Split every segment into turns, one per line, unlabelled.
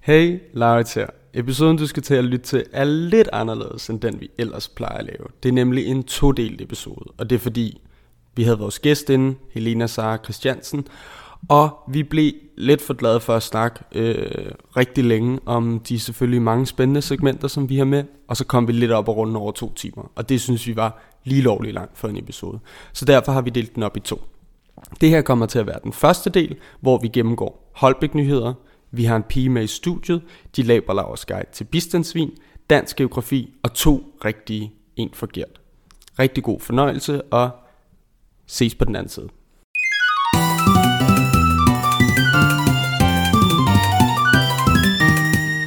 Hey, Laurits her. Episoden, du skal til at lytte til, er lidt anderledes end den, vi ellers plejer at lave. Det er nemlig en todelt episode, og det er fordi, vi havde vores gæst inde, Helena Sara Christiansen, og vi blev lidt for glade for at snakke øh, rigtig længe om de selvfølgelig mange spændende segmenter, som vi har med, og så kom vi lidt op og rundt over to timer, og det synes vi var lige lovligt langt for en episode. Så derfor har vi delt den op i to. Det her kommer til at være den første del, hvor vi gennemgår Holbæk-nyheder, vi har en pige med i studiet, de laber Lauers guide til bistandsvin, dansk geografi og to rigtige, en forkert. Rigtig god fornøjelse, og ses på den anden side.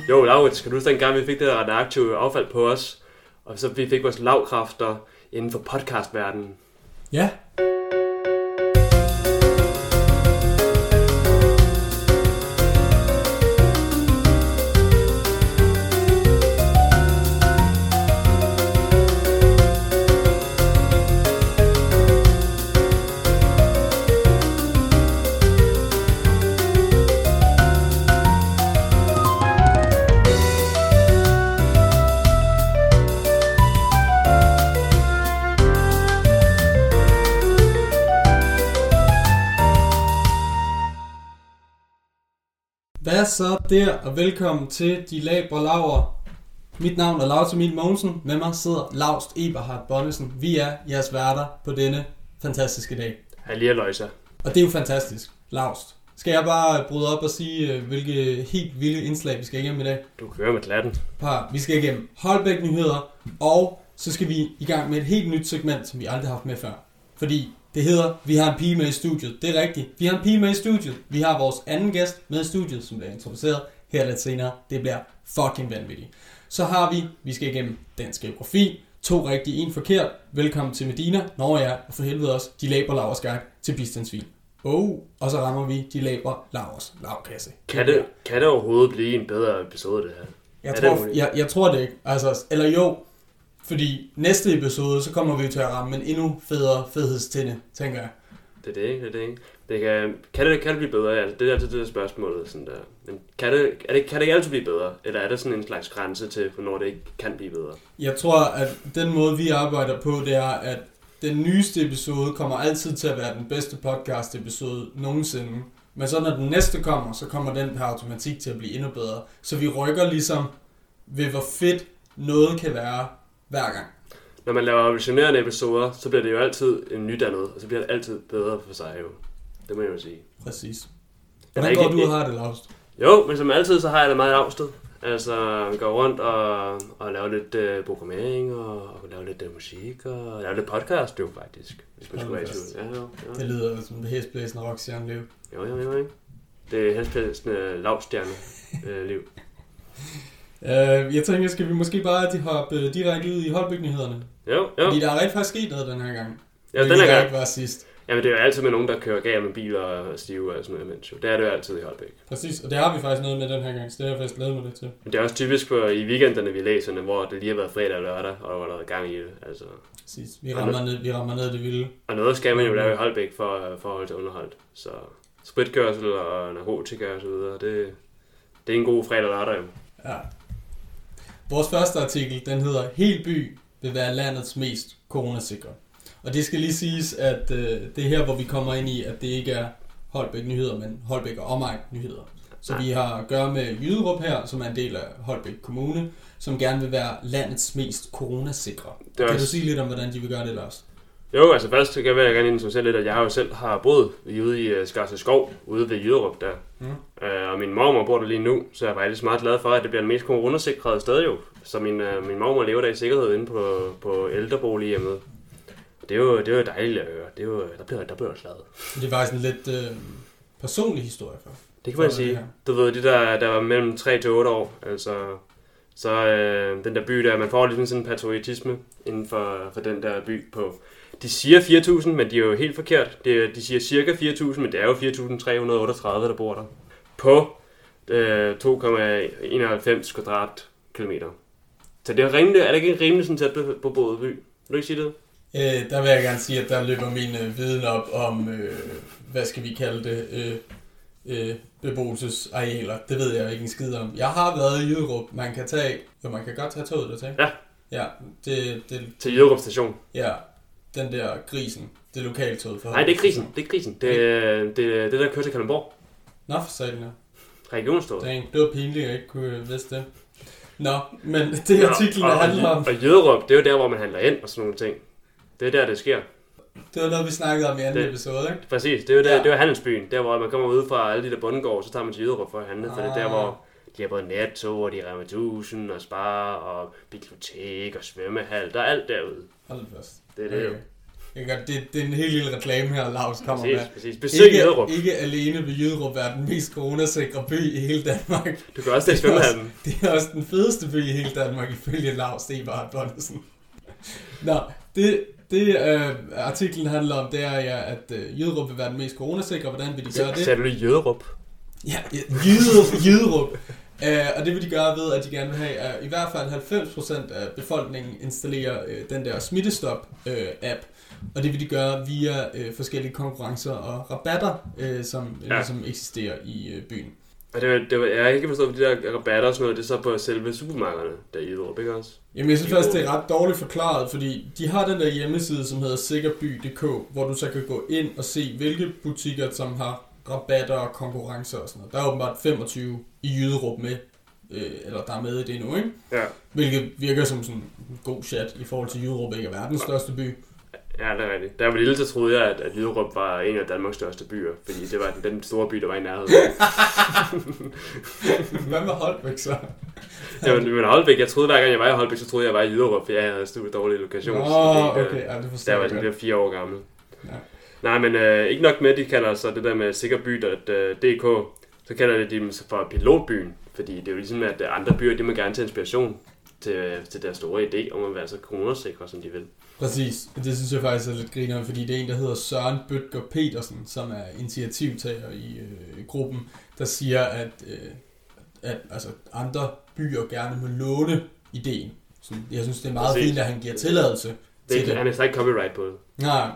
Jo, Laurits, kan du huske dengang, vi fik det der radioaktive affald på os? Og så vi fik vores lavkræfter inden for podcastverdenen.
Ja. Hvad så der, og velkommen til De Labre Laver. Mit navn er Lars Emil Mogensen, med mig sidder Laust Eberhard Bonnesen. Vi er jeres værter på denne fantastiske dag.
Halli Løjsa.
Og det er jo fantastisk, Laust. Skal jeg bare bryde op og sige, øh, hvilke helt vilde indslag vi skal igennem i dag?
Du kører med klatten.
Par, vi skal igennem Holbæk Nyheder, og så skal vi i gang med et helt nyt segment, som vi aldrig har haft med før. Fordi det hedder, vi har en pige med i studiet. Det er rigtigt. Vi har en pige med i studiet. Vi har vores anden gæst med i studiet, som bliver introduceret her lidt senere. Det bliver fucking vanvittigt. Så har vi, vi skal igennem dansk geografi. To rigtige, en forkert. Velkommen til Medina, Norge er, og for helvede også, de laber Lauers guide til bistandsvin. Oh, og så rammer vi, de laber Lauers lavkasse.
Kan det, kan det overhovedet blive en bedre episode, det her?
Jeg
Er
tror,
det muligt?
jeg, jeg tror det ikke. Altså, eller jo, fordi næste episode, så kommer vi jo til at ramme en endnu federe fedhedstinde, tænker jeg.
Det er det, ikke? Det er det, ikke? Det kan, kan, det, kan det blive bedre? Altså, det er altid det der spørgsmål. Sådan der. Men kan det, er det, kan det ikke altid blive bedre? Eller er der sådan en slags grænse til, hvornår det ikke kan blive bedre?
Jeg tror, at den måde, vi arbejder på, det er, at den nyeste episode kommer altid til at være den bedste podcast-episode nogensinde. Men så når den næste kommer, så kommer den per automatik til at blive endnu bedre. Så vi rykker ligesom ved, hvor fedt noget kan være hver gang.
Når man laver visionerende episoder, så bliver det jo altid en nydannet, og så bliver det altid bedre for sig jo. Det må jeg jo sige.
Præcis.
Der er
Hvordan
ikke-
går du og har det, Lars?
Jo, men som altid, så har jeg det meget afsted. Altså, vi går rundt og, og laver lidt øh, programmering, og, og laver lidt øh, musik, og laver lidt podcast jo faktisk, hvis man skulle være i
Podcast.
tvivl. Ja, jo,
Det lyder som hæsblæsende rockstjerne liv.
jo, jo, jo, jo, ikke? Det er helst øh, lavstjerne øh, liv.
Øh, jeg tænker, skal vi måske bare de hoppe øh, direkte ud i Holbæk-nyhederne?
Jo, jo.
Fordi der er rent faktisk sket noget den her gang.
Ja, den
Hvilket
er
der
gang.
ikke var sidst.
Jamen, det er jo altid med nogen, der kører galt med biler og stive og sådan noget imens jo. Det er det jo altid i Holbæk.
Præcis, og det har vi faktisk noget med den her gang, så det har jeg faktisk glædet mig lidt til.
Men det er også typisk for i weekenderne, vi læser, hvor det lige har været fredag og lørdag, og der var noget gang i det. Altså.
Præcis, vi rammer, ned, vi rammer ned i det vilde.
Og noget skal man jo lave i Holbæk for, for at holde sig underholdt. Så spritkørsel og narkotika og så videre, det, det er en god fredag og lørdag. jo.
Ja. Vores første artikel, den hedder Helt by vil være landets mest coronasikre. Og det skal lige siges, at øh, det er her, hvor vi kommer ind i, at det ikke er Holbæk Nyheder, men Holbæk og Omegn Nyheder. Så vi har at gøre med Jyderup her, som er en del af Holbæk Kommune, som gerne vil være landets mest coronasikre.
Det
Kan
er
du
også-
sige lidt om, hvordan de vil gøre det, Lars?
Jo, altså først så kan jeg gerne introducere lidt, at jeg har jo selv har boet ude i øh, Skarse Skov, ude ved Jyderup der. Mm. Øh, og min mormor bor der lige nu, så jeg er faktisk meget glad for, at det bliver den mest coronasikrede sted jo. Så min, øh, min mormor lever der i sikkerhed inde på, på ældrebolighjemmet. Det er jo, det er jo dejligt at høre. Det er jo, der bliver der bliver slaget.
Det er faktisk en lidt øh, personlig historie for.
Det kan man
Så, ja.
sige. Du ved, de der, der var mellem 3 til 8 år, altså, så øh, den der by der, man får ligesom sådan en patriotisme inden for, for den der by på. De siger 4.000, men de er jo helt forkert. De, de siger cirka 4.000, men det er jo 4.338, der bor der. På øh, 2,91 kvadratkilometer. Så det er, rimelig, er det ikke en rimelig sådan tæt på både by? Vil du ikke sige det?
Øh, der vil jeg gerne sige, at der løber min øh, viden op om, øh, hvad skal vi kalde det, øh, øh, beboelsesarealer. Det ved jeg jo ikke en skid om. Jeg har været i Jyderup. Man kan tage... Jo, man kan godt tage toget der til.
Ja.
Ja, det, det,
Til Jøderup station.
ja, den der grisen. Det lokale tog for
Nej, det er krisen. Det er krisen. Det, er- det, er det der kører til Kalundborg.
Nå, for satan, ja.
Regionsrådet.
Dang, det var pinligt, jeg ikke kunne øh, vidste det. Nå, men det artiklen
og,
handler om,
Og Jøderup, det er jo der, hvor man handler ind og sådan nogle ting. Det er der, det sker.
det var noget, vi snakkede om i anden
Det-
episode, ikke?
Præcis, det er jo der,
Ja.
ja. det er jo handelsbyen, der hvor man kommer ud fra alle de der bondegårde, så tager man til Jyderup for at handle, for det er der,
Ah.
hvor de har både netto, og de har Rema 1000, og spar, og bibliotek, og svømmehal, der er alt derude.
Hold da fast.
Det er det jo.
Okay. Jeg kan godt, det, det er en helt lille reklame her, Lars kommer med.
Præcis, præcis. Besøg Jyderup.
ikke, ikke alene vil Jyderup være den mest coronasikre by i hele Danmark.
Du kan også tage i
Det er også-
svømmehallen.
Det er også den fedeste by i hele Danmark, ifølge Lars Ebert Bonnesen. Nå, det, det øh, artiklen handler om, det er, ja, at øh, Jyderup vil være den mest coronasikre. Hvordan vil de gøre det?
Sætter du lige Jøderup?
Ja, Jyderup. Jyderup. Øh, og det vil de gøre ved, at de gerne vil have, at i hvert fald 90% af befolkningen installerer øh, den der smittestop-app. og det vil de gøre via øh, forskellige konkurrencer og rabatter, øh, som ja.
Ja.
ligesom eksisterer i øh, byen.
Og det, var- det var, jeg har ikke forstået, at de der rabatter og sådan noget, det er så på selve supermarkederne, der i Jyderup, ikke også?
Jamen, jeg synes faktisk, det er ret dårligt forklaret, fordi de har den der hjemmeside, som hedder sikkerby.dk, hvor du så kan gå ind og se, hvilke butikker, som har rabatter og konkurrencer og sådan noget. Der er åbenbart 25 i Jyderup med, øh, eller der er med i det nu, ikke?
Ja.
Hvilket virker som sådan en god chat i forhold til Jyderup, ikke er verdens største by.
Ja, det er rigtigt. Da jeg var lille, så troede jeg, at, at Jyderup var en af Danmarks største byer, fordi det var den, den store by, der var i nærheden.
Hvad med Holbæk så?
Det var, men Holbæk, jeg troede hver gang, jeg var i Holbæk, så troede jeg, jeg var i Jyderup, for jeg havde super dårlig lokation. øh,
Nå, okay, ja, det
Der
forstår
var
jeg
jeg
godt.
bliver fire år gammel.
Ja.
Ja. Nej, men øh, ikke nok med, at de kalder sig det der med sikkerby.dk, øh, så kalder de dem for pilotbyen, fordi det er jo ligesom, at andre byer, de må gerne tage inspiration til, øh, til deres store idé om at være så coronasikre, som de vil.
Præcis, det synes jeg faktisk er lidt griner, fordi det er en, der hedder Søren Bøtger Petersen, som er initiativtager i øh, gruppen, der siger, at, øh, at altså, andre byer gerne må låne ideen. Så jeg synes, det er meget
Præcis.
fint, at han giver tilladelse
Det er,
til det.
ikke- han er ikke copyright på det.
Nej.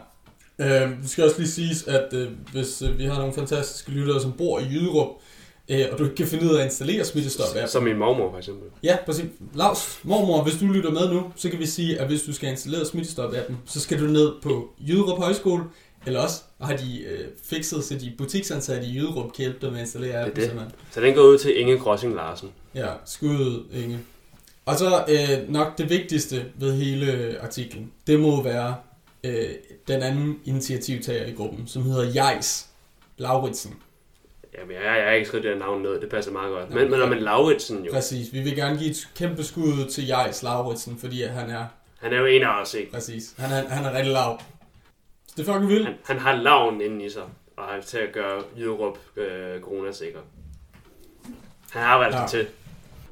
Øh, det skal også lige siges, at øh, hvis øh, vi har nogle fantastiske lyttere, som bor i Jyderup, øh, og du ikke kan finde ud af at installere smittestop app
Som min mormor, for eksempel.
Ja, præcis. Lars, mormor, hvis du lytter med nu, så kan vi sige, at hvis du skal installere smittestop-appen, så skal du ned på Jyderup Højskole, eller også har de øh, fikset, så de butiksansatte i Jyderup kan hjælpe dig med at installere appen.
det.
simpelthen.
Så den går ud til Inge Grossing Larsen.
Ja, skud, Inge. Og så øh, nok det vigtigste ved hele artiklen, det må være øh, den anden initiativtager i gruppen, som hedder Jejs Lauritsen.
Jamen, jeg, jeg har ikke skrevet det her navn ned, det passer meget godt.
Nå,
Men, men når
ja.
man Lauritsen jo,
Præcis, vi vil gerne give et kæmpe skud til Jejs Lauritsen, fordi at han er
han er jo en af os, ikke?
Præcis. Han er, han er rigtig lav. Så det er fucking vildt.
Han, han har laven inden i sig, og han er til at gøre Jyderup øh, coronasikker. Han har valgt
Ja.
ja. til.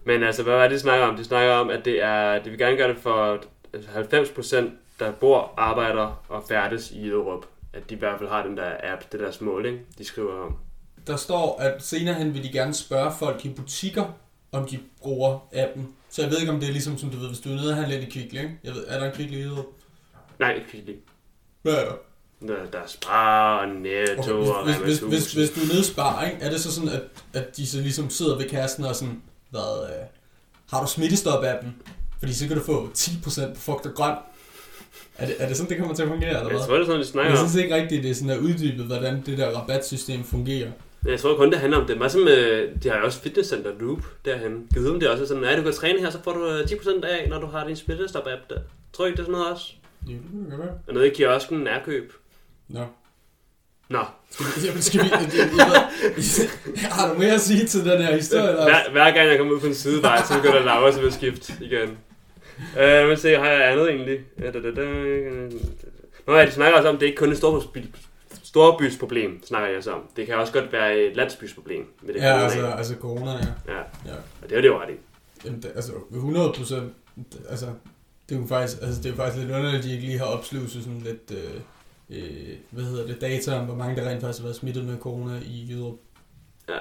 Men altså, hvad er det, de snakker om? De snakker om, at det er, de vil gerne gøre det for 90% der bor, arbejder og færdes i Jyderup. At de i hvert fald har den der app, det deres mål, ikke? De skriver om.
Der står, at senere hen vil de gerne spørge folk i butikker, om de bruger appen. Så jeg ved ikke, om det er ligesom, som du ved, hvis du er nede og handler lidt i Kvickly, ikke? Jeg ved, er der en Kvickly i Jyderup?
Nej, ikke Kvickly.
Hvad er der?
Der, der er Spar og Netto okay, og
Okay, hvis, hvis, hvis, hvis,
Rema
hvis, du er nede i spar, ikke? Er det så sådan, at, at de så ligesom sidder ved kassen og sådan, hvad, øh, har du smittestop-appen? Fordi så kan du få 10% på fugt og grøn. Er det, er det sådan, det kommer til at fungere, eller
1000.
hvad?
Jeg tror, det er sådan, de snakker
Jeg
om.
synes ikke rigtigt, det er sådan der uddybet, hvordan det der rabatsystem fungerer.
Men Jeg tror kun, det handler om det. Meget som, øh, de har jo også fitnesscenter Loop derhen. Givet om det er også er sådan, at du kan træne her, så får du øh, 10% af, når du har din smittestop-app der. Tror I ikke, det er sådan noget også?
Ja, det kan godt være.
Og nede i kiosken, nærkøb.
Nå.
Nå,
Skal vi, jamen, skal vi, øh, jeg, jeg, jeg, øh, har du mere at sige til den her historie? Eller?
hver, hver gang jeg kommer ud på en sidevej, så går der laver, så vil jeg skifte igen. Øh, men se, har jeg andet egentlig? Ja, da, da, da. Nå ja, de snakker også om, at det ikke kun er et storby, storbysproblem, snakker jeg så om. Det kan også godt være et landsbysproblem. Med det
Ja,
corona.
altså, altså corona, ja.
ja.
Ja.
ja. Og det er det jo ret i.
Jamen, det, altså 100 procent, altså, det er jo faktisk, altså, det er jo faktisk lidt underligt, at de ikke lige har opsluset sådan lidt, øh, øh, hvad hedder det, data om, hvor mange der rent faktisk har været smittet med corona i Jyderup.
Ja.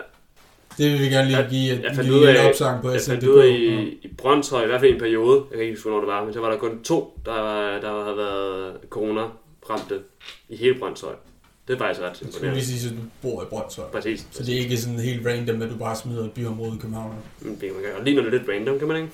Det vil vi gerne lige
Jeg-
give et
jeg
en
fandt ud
lille
af-
opsang på
Jeg
SNDK.
fandt ud af i, i Brøndshøj, i hvert fald i en periode, jeg kan ikke huske, hvornår det var, men så var der kun to, der, der havde været corona ramte i hele Brøndshøj. Det er faktisk ret
Skulle vi
imponerende.
sige, at du bor i Brøndshøj.
Præcis.
Så det er ikke sådan helt random, at du bare smider et byområde i København.
Men det kan man gøre. Og lige når det er lidt random, kan man ikke?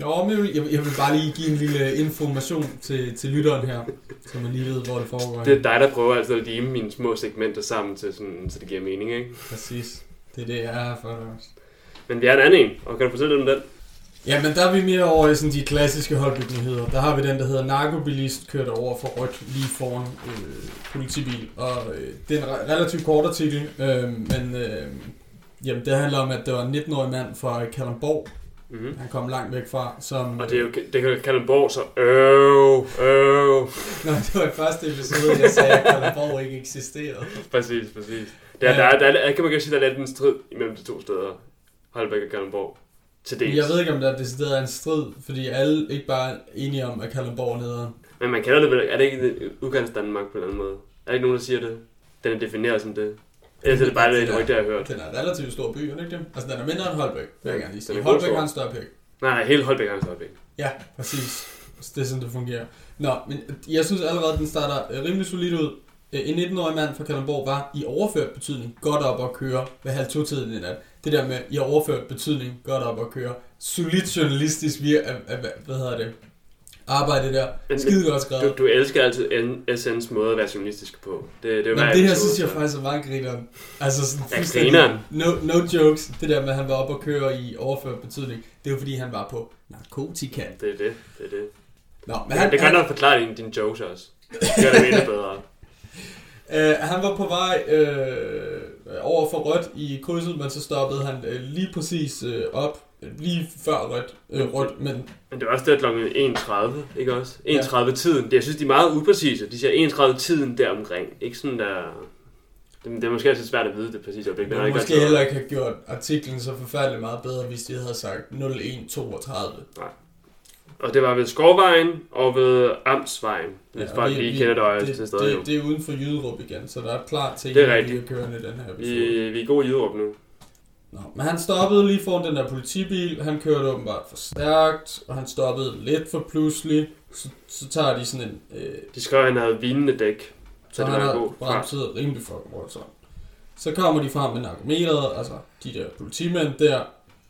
Jo, men jeg vil, jeg vil- jeg vil bare lige give en lille information til, til lytteren her, så man lige ved, hvor det foregår.
Det er dig, der prøver altid at lime mine små segmenter sammen, til sådan, så det giver mening, ikke?
Præcis. Det er det, jeg er her for. Anders.
Men vi har en anden en, og kan du fortælle lidt om den?
Jamen, der er vi mere over i sådan de klassiske holdbygninger. Der har vi den, der hedder narkobilist, kørt over for rødt lige foran øh, politibil. Og øh, det er en re- relativt kort artikel, øh, men øh, jamen, det handler om, at det var en 19-årig mand fra Kalundborg,
Mm-hmm.
han kom langt væk fra, som...
Og det er jo, det kan jo Kalundborg, så øv, øv.
Nå, det var i første episode, jeg sagde, at Kalundborg ikke eksisterede.
Præcis, præcis. Der,
Ja.
der, er- der, der, kan man godt sige, der er lidt en strid imellem de to steder. Holbæk og Kalundborg. Til
Men
dels.
Jeg ved ikke, om der er decideret en strid, fordi alle ikke bare er enige om, at Kalundborg er nederen.
Men man kalder det vel, er det ikke udgangs Danmark på en eller anden måde? Er der ikke nogen, der siger det? Den er defineret som det. Ellers er det bare lidt rygte, jeg har hørt.
Den er en relativt stor by, er det ikke det? Altså, den er mindre end Holbæk, vil jeg gerne lige
Den
sige.
er god
Holbæk
stor.
har en større pæk.
Nej, nej, hele Holbæk er Holbæk.
Ja, præcis. Så Det er sådan, det fungerer. Nå, men jeg synes allerede, den starter øh, rimelig solidt ud. Øh, En 19-årig mand fra Kalundborg var i overført betydning godt op at køre ved halv to-tiden i nat. Det der med i overført betydning godt op at køre. Solidt journalistisk via, af, af, hvad- hvad hedder det, arbejde der.
Men-
Skide godt skrevet.
Du, du elsker altid N- SN's måde at være journalistisk på. Det, det er jo
Nå,
hver
men det her
episode,
synes jeg
så-
faktisk er meget grineren. Altså sådan
Ja,
fuldstændig-
grineren.
No, no jokes. Det der med, at han var oppe og køre i overført betydning, det er jo fordi, han var på narkotika.
Det er det, det er det.
Nå, men
Men
han,
det kan
han,
nok forklare dine, dine jokes også. Det gør det endnu bedre.
øh, han var på vej øh, over for rødt i krydset, men så stoppede han øh, lige præcis øh, op, øh, lige før rødt, øh, rødt men
Men det er også der kl. 1.30, ikke også? 1.30-tiden. Det, jeg synes, de er meget upræcise. De siger 1.30-tiden deromkring. Ikke sådan der... Det, det er måske altid svært at vide det præcise øjeblik.
det
har ikke
måske
altid-
heller ikke have gjort artiklen så forfærdeligt meget bedre, hvis de havde sagt 0132.
Og det var ved Skovvejen og ved Amtsvejen. Hvis
og
folk
vi-
lige
vi-
kender det og
det,
til stedet jo.
det, det er uden for Jyderup igen, så der er klart ting,
Det er
vi
rigtigt.
er kørende i den her episode.
Vi, vi er gode i Jyderup nu.
Nå, men han stoppede lige foran den der politibil, han kørte åbenbart for stærkt, og han stoppede lidt for pludselig, så, så tager de sådan en... Øh,
De skrev, at han havde vinende dæk. Så
så
det
han
var en
har
god fart.
bremset rimelig fucking voldsomt. Så kommer de frem med narkometeret, altså de der politimænd der,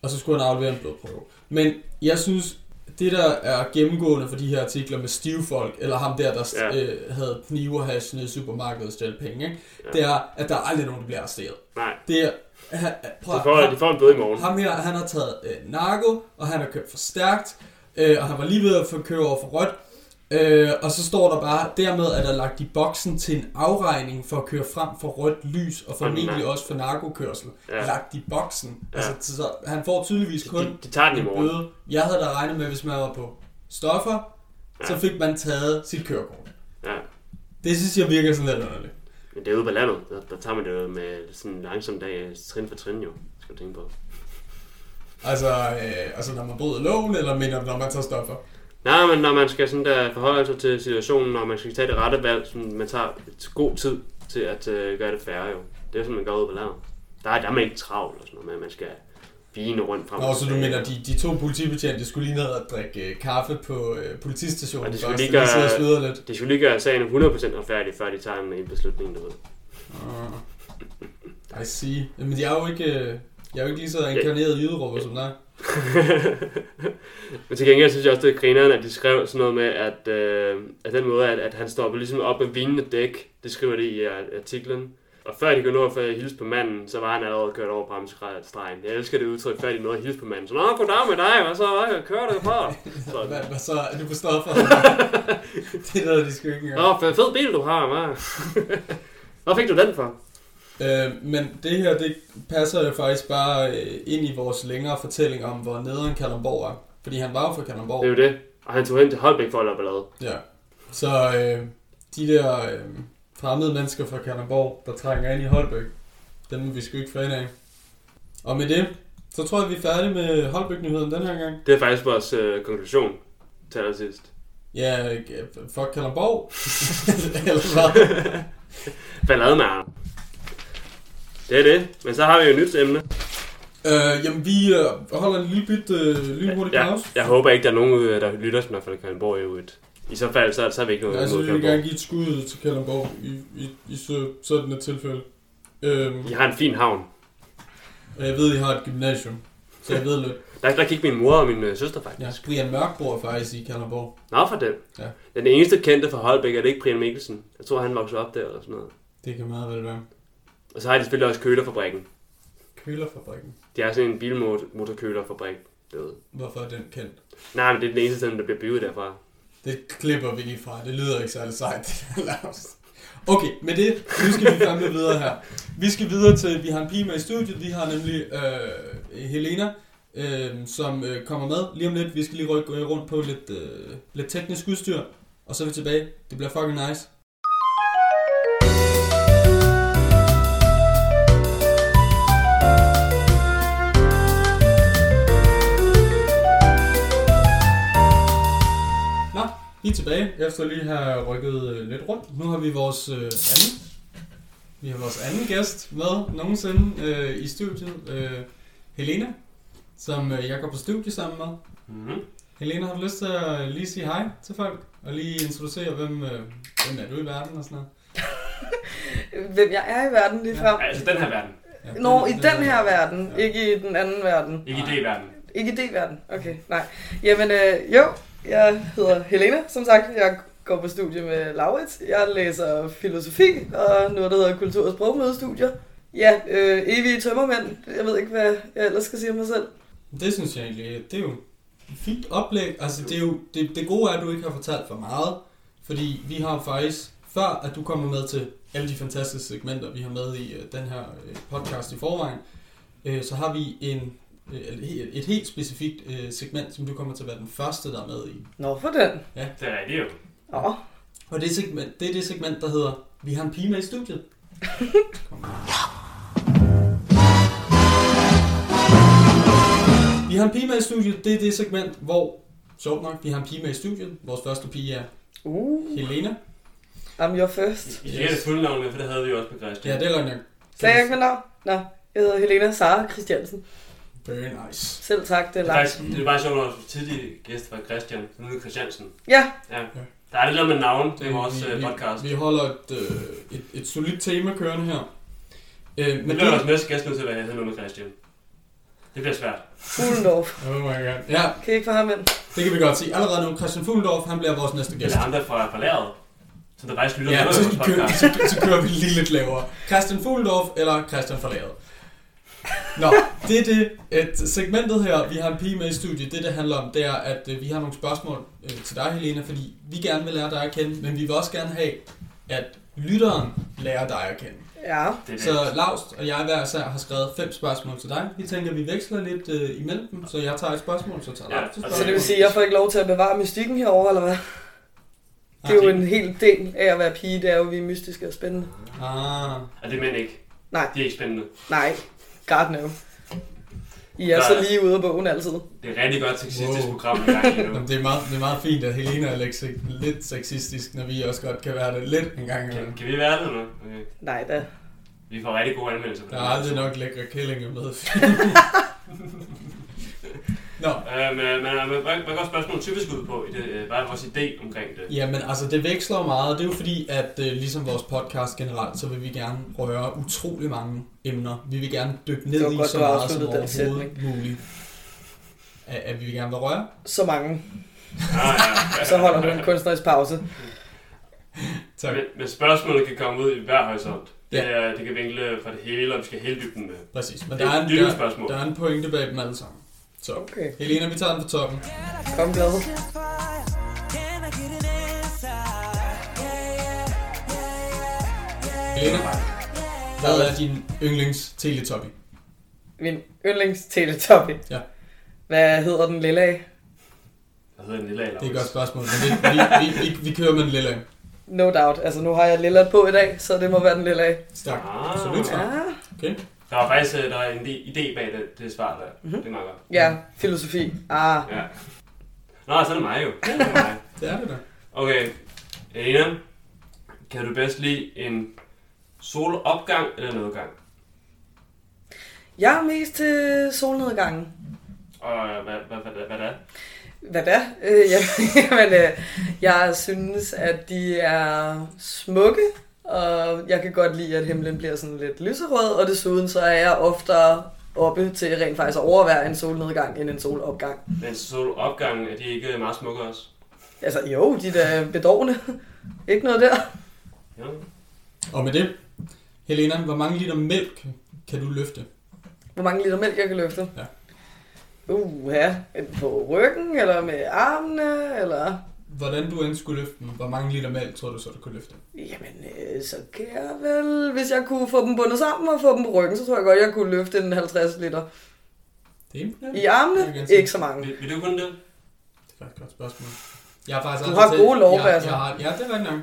og så skulle han aflevere en blodprøve. Men jeg synes, det der er gennemgående for de her artikler med stivfolk, eller ham der, der
Ja.
ja. øh, havde knive og hash nede i supermarkedet og stjal penge, ikke?
Ja.
det er, at der er aldrig nogen, der bliver arresteret.
Nej,
Det er, han, prøv,
de får, de får en bøde i morgen.
Ham her, han har taget øh, narko, og han har kørt for stærkt, øh, og han var lige ved at få køre over for rødt. Øh, og så står der bare, dermed er der lagt i boksen til en afregning for at køre frem for rødt lys, og formentlig
nej.
også for narkokørsel.
Ja.
Ja. Lagt i boksen.
Ja.
Ja. Altså, så han får tydeligvis kun
De, de tager den i
en
morgen.
bøde. Jeg havde da regnet med, hvis man var på stoffer, ja.
Ja.
så fik man taget sit kørekort.
Ja.
Det synes jeg virker sådan lidt underligt.
Men det er ude på landet. Der, der tager man det jo med sådan en langsom dag, trin for trin jo. Skal du tænke på.
Altså, øh, altså, når man bryder loven, eller mener, når man tager stoffer.
Nej, men når man skal sådan der forholde sig til situationen, når man skal tage det rette valg, så man tager et god tid til at øh, gøre det færre jo. Det er sådan, man går ud på landet. Der er, der er man ikke travl og sådan noget, men man skal vine rundt frem.
Nå,
og
så du
tilbage.
mener, de, de to politibetjente skulle lige ned og drikke øh, kaffe på øh, politistationen
Og de skulle
først,
lige
og
gøre-
de sidder og sveder lidt.
Det skulle lige gøre sagen 100% retfærdig, før de tager en, en beslutning, du ved. Ah.
Uh, I see. Jamen, jeg er jo ikke, øh, jeg er jo ikke lige så inkarneret jyderupper som dig.
men til gengæld synes jeg også, det er grineren, at de skrev sådan noget med, at, øh, at den måde, at, at han stopper ligesom op med vinende dæk, det skriver de i øh, artiklen. Og før de kunne nå at få hilse på manden, så var han allerede kørt over bremsestregen. Jeg elsker det udtryk, før de nåede at hilse på manden. Så, nå, goddag med dig, hvad så? Hvad kører du på?
Hvad,
Så,
hvad så? Er du på stoffer? det er noget, de skal ikke engang.
Nå, fed- fed bil du har, hva'? Hvor fik du den for?
Øh, men det her, det passer jo faktisk bare øh, ind i vores længere fortælling om, hvor nederen Kalundborg er. Fordi han var jo fra Kalundborg.
Det er jo det. Og han tog hen til Holbæk for at lave ballade.
Ja. Så øh, de der øh, fremmede mennesker fra Kalundborg, der trænger ind i Holbæk, dem er vi sgu ikke fan af. Og med det, så tror jeg, vi er færdige med Holbæk-nyheden den her gang.
Det er faktisk vores øh, konklusion til allersidst.
Ja, øh, fuck Kalundborg. Eller hvad?
Ballade med ham. Det er det. Men så har vi jo et nyt emne.
Øh, jamen, vi øh, holder en lille bit øh, lynhurtig
Ja,
pause.
jeg håber ikke, der er nogen, øh, der lytter, som er fra Kalundborg, er jo et I så fald, så, så har vi ikke noget
altså,
imod
vi vil
Kalundborg.
gerne give et skud til Kalundborg i, i, i så, sådan et tilfælde. Øhm,
I har en fin havn.
og jeg ved, I har et gymnasium, så jeg ved lidt.
Der, der gik min mor og min øh, søster faktisk.
Ja, Brian Mørk bor faktisk i Kalundborg.
Nå for den.
Ja.
Den eneste kendte fra Holbæk er det ikke Brian Mikkelsen. Jeg tror, han voksede op der eller sådan noget.
Det kan meget vel være.
Og så har de selvfølgelig også kølerfabrikken.
Kølerfabrikken.
De har sådan en bilmotorkølerfabrik derude.
Hvorfor er den kendt?
Nej, men det er den eneste, der bliver bygget derfra.
Det klipper vi lige fra. Det lyder ikke særlig sejt, det der Lars. Okay, med det, nu skal vi fandme videre her. Vi skal videre til, vi har en pige med i studiet. Vi har nemlig øh, Helena, øh, som øh, kommer med lige om lidt. Vi skal lige rykke øh, rundt på lidt, øh, lidt teknisk udstyr. Og så er vi tilbage. Det bliver fucking nice. Nå, vi er tilbage. Efter lige have rykket øh, lidt rundt. Nu har vi vores øh, anden. Vi har vores anden gæst med nogensinde øh, i studiet. Øh, Helena, som øh, jeg går på studie sammen med. Mhm.
Mm-hmm.
Helena, har du lyst til at lige sige hej til folk? Og lige introducere, hvem, øh, hvem er du i verden og sådan noget?
Hvem jeg er i verden lige frem.
Altså den her verden.
Ja,
Nå,
det-
i
det-
den her verden,
Ja.
ikke i den anden verden.
Ikke
Nej.
i D-verden.
Ikke i D-verden, okay, nej. Jamen øh, jo, jeg hedder Helena, som sagt. Jeg går på studie med Laurits. Jeg læser filosofi og noget, der hedder kultur- og sprogmødestudier. Ja, øh, evige tømmermænd. Jeg ved ikke, hvad jeg ellers skal sige om mig selv.
Det synes jeg egentlig, det er jo et fint oplæg. Altså, det, er jo, det, det gode er, at du ikke har fortalt for meget, fordi vi har jo faktisk, før at du kommer med til alle de fantastiske segmenter, vi har med i øh, den her øh, podcast i forvejen, øh, så har vi en, øh, et- et helt specifikt øh, segment, som du kommer til at være den første, der er med i.
Nå, for den.
Det er det jo.
Åh,
Og det, segment, det er det segment, der hedder, vi har en pige med i studiet. Kom. Vi har en pige med i studiet, det er det segment, hvor, sjovt nok, vi har en pige med i studiet. Vores første pige er
uh,
Helena.
I'm your first.
I siger det fulde navn med, for det havde vi jo også på Christian.
Ja, det er rigtig nok.
Sagde jeg ikke mit navn? Nå, jeg hedder Helena Sara Christiansen.
Very nice.
Selv tak, det er
Det er,
langt.
faktisk, det er bare sjovt, at vores tidlige gæst var Christian, nu er det Christiansen.
Ja,
Der er lidt noget med navn, det er vores
Vi-
øh,
vi-
podcast.
Vi holder et, øh, et, et solidt tema kørende her. Øh,
Men
men
det
det,
bliver vores næste gæst nødt til at være hedder noget med Christian. Det bliver svært.
Fuglendorf.
oh my god. Ja,
Kan I ikke få ham ind?
det kan vi godt se. Allerede nu, Christian Fuglendorf, han bliver vores næste gæst.
Eller andre fra, fra læret, som der faktisk lytter
Ja,
med
så,
vores
kører,
podcast.
så, så kører vi lige lidt lavere. Christian Fuglendorf eller Christian Forlaget. Nå, det er det. Et segmentet her, vi har en pige med i studiet, det det handler om, det er, at øh, vi har nogle spørgsmål øh, til dig, Helena, fordi vi gerne vil lære dig at kende, men vi vil også gerne have, at lytteren lærer dig at kende.
Ja.
Det er det.
Så Laust og jeg hver især har skrevet fem spørgsmål til dig. Vi tænker, at vi veksler lidt øh, imellem dem, så jeg tager et spørgsmål, så tager
Ja,
Laust et
og
spørgsmål.
Så det vil sige, at jeg får ikke lov til at bevare mystikken herover eller hvad? Det er jo en hel del af at være pige, det er jo, at vi er mystiske og spændende.
Ah,
Og det er mænd ikke.
Nej.
Det er ikke spændende.
Nej, God no. I er så lige ude af bogen altid.
Det er et rigtig godt sexistisk
Wow.
program, vi har lige nu.
Jamen, det, er meget, det er meget fint, at Helena er lidt, se- lidt sexistisk, når vi også godt kan være det lidt en gang
Kan,
imellem.
kan vi være det nu? Okay.
Nej da.
Vi får rigtig gode anmeldelser på
Der
det.
er aldrig nok lækre kællinger med. Nå,
Øh, men, men, men hvad, hvad går spørgsmålet typisk ud på? I det, øh, hvad er vores idé omkring det?
jamen altså, det veksler jo meget. Det er jo fordi, at øh, ligesom vores podcast generelt, så vil vi gerne røre utrolig mange emner. Vi vil gerne dykke ned
Det var
i
godt,
så
du
meget som
afsluttede den
overhovedet muligt. At, at vi vil gerne vil røre.
Så mange.
Ah, ja.
Så holder du en kunstnerisk pause.
Tak.
Men, men spørgsmålet kan komme ud i hver horisont. Det,
Ja.
er, det kan vinkle fra det hele, og vi skal hele øh, dybden med.
Præcis. Men
Det
der
er
er
et
en,
lille
der,
spørgsmål.
der er en pointe bag dem alle sammen. Så,
Okay.
Helena, vi tager den på toppen.
Kom glad.
Helena, hvad er din yndlings teletoppy?
Min yndlings teletoppy.
Ja.
Hvad hedder den lille af?
Hvad hedder den lille eller
Det er et godt spørgsmål, men det, vi, vi, vi, vi kører med en lille af.
No doubt. Altså nu har jeg lilla på i dag, så det må være den lille af.
Stærkt.
Ah.
Absolut.
Ja.
Der var faktisk øh, der er en idé bag det, det svar der. Mm-hmm. Det er meget godt.
Ja, filosofi. Ah,
Ja. Nå, så er det mig jo. Det er mig.
Det er det da.
Okay. Elena, kan du bedst lide en solopgang eller nedgang?
Jeg er mest til solnedgangen.
Og øh, hvad, hvad, hvad, hvad, hvad det er?
Hvad da? Øh, ja, jamen, øh, jeg synes, at de er smukke, og jeg kan godt lide, at himlen bliver sådan lidt lyserød, og desuden så er jeg oftere oppe til rent faktisk at overvære en solnedgang end en solopgang.
Men solopgangen, er de ikke meget smukke også?
Altså jo, de der bedårende. Ikke noget der.
Ja.
Og med det, Helena, hvor mange liter mælk kan du løfte?
Hvor mange liter mælk jeg kan løfte?
Ja.
Uh, ja. På ryggen, eller med armene, eller...
Hvordan du end skulle løfte den, hvor mange liter mælk tror du så, du kunne løfte?
Jamen, øh, så kan jeg vel... Hvis jeg kunne få dem bundet sammen og få dem på ryggen, så tror jeg godt, jeg kunne løfte en 50 liter.
Det er imponerende.
I armene, ikke så mange.
Vil, vil du kunne det?
Det er faktisk et godt spørgsmål. Jeg har faktisk
Du
aldrig
har
selv-
gode altså. lårbær,
jeg,
så.
jeg har, Ja, det er rigtigt nok.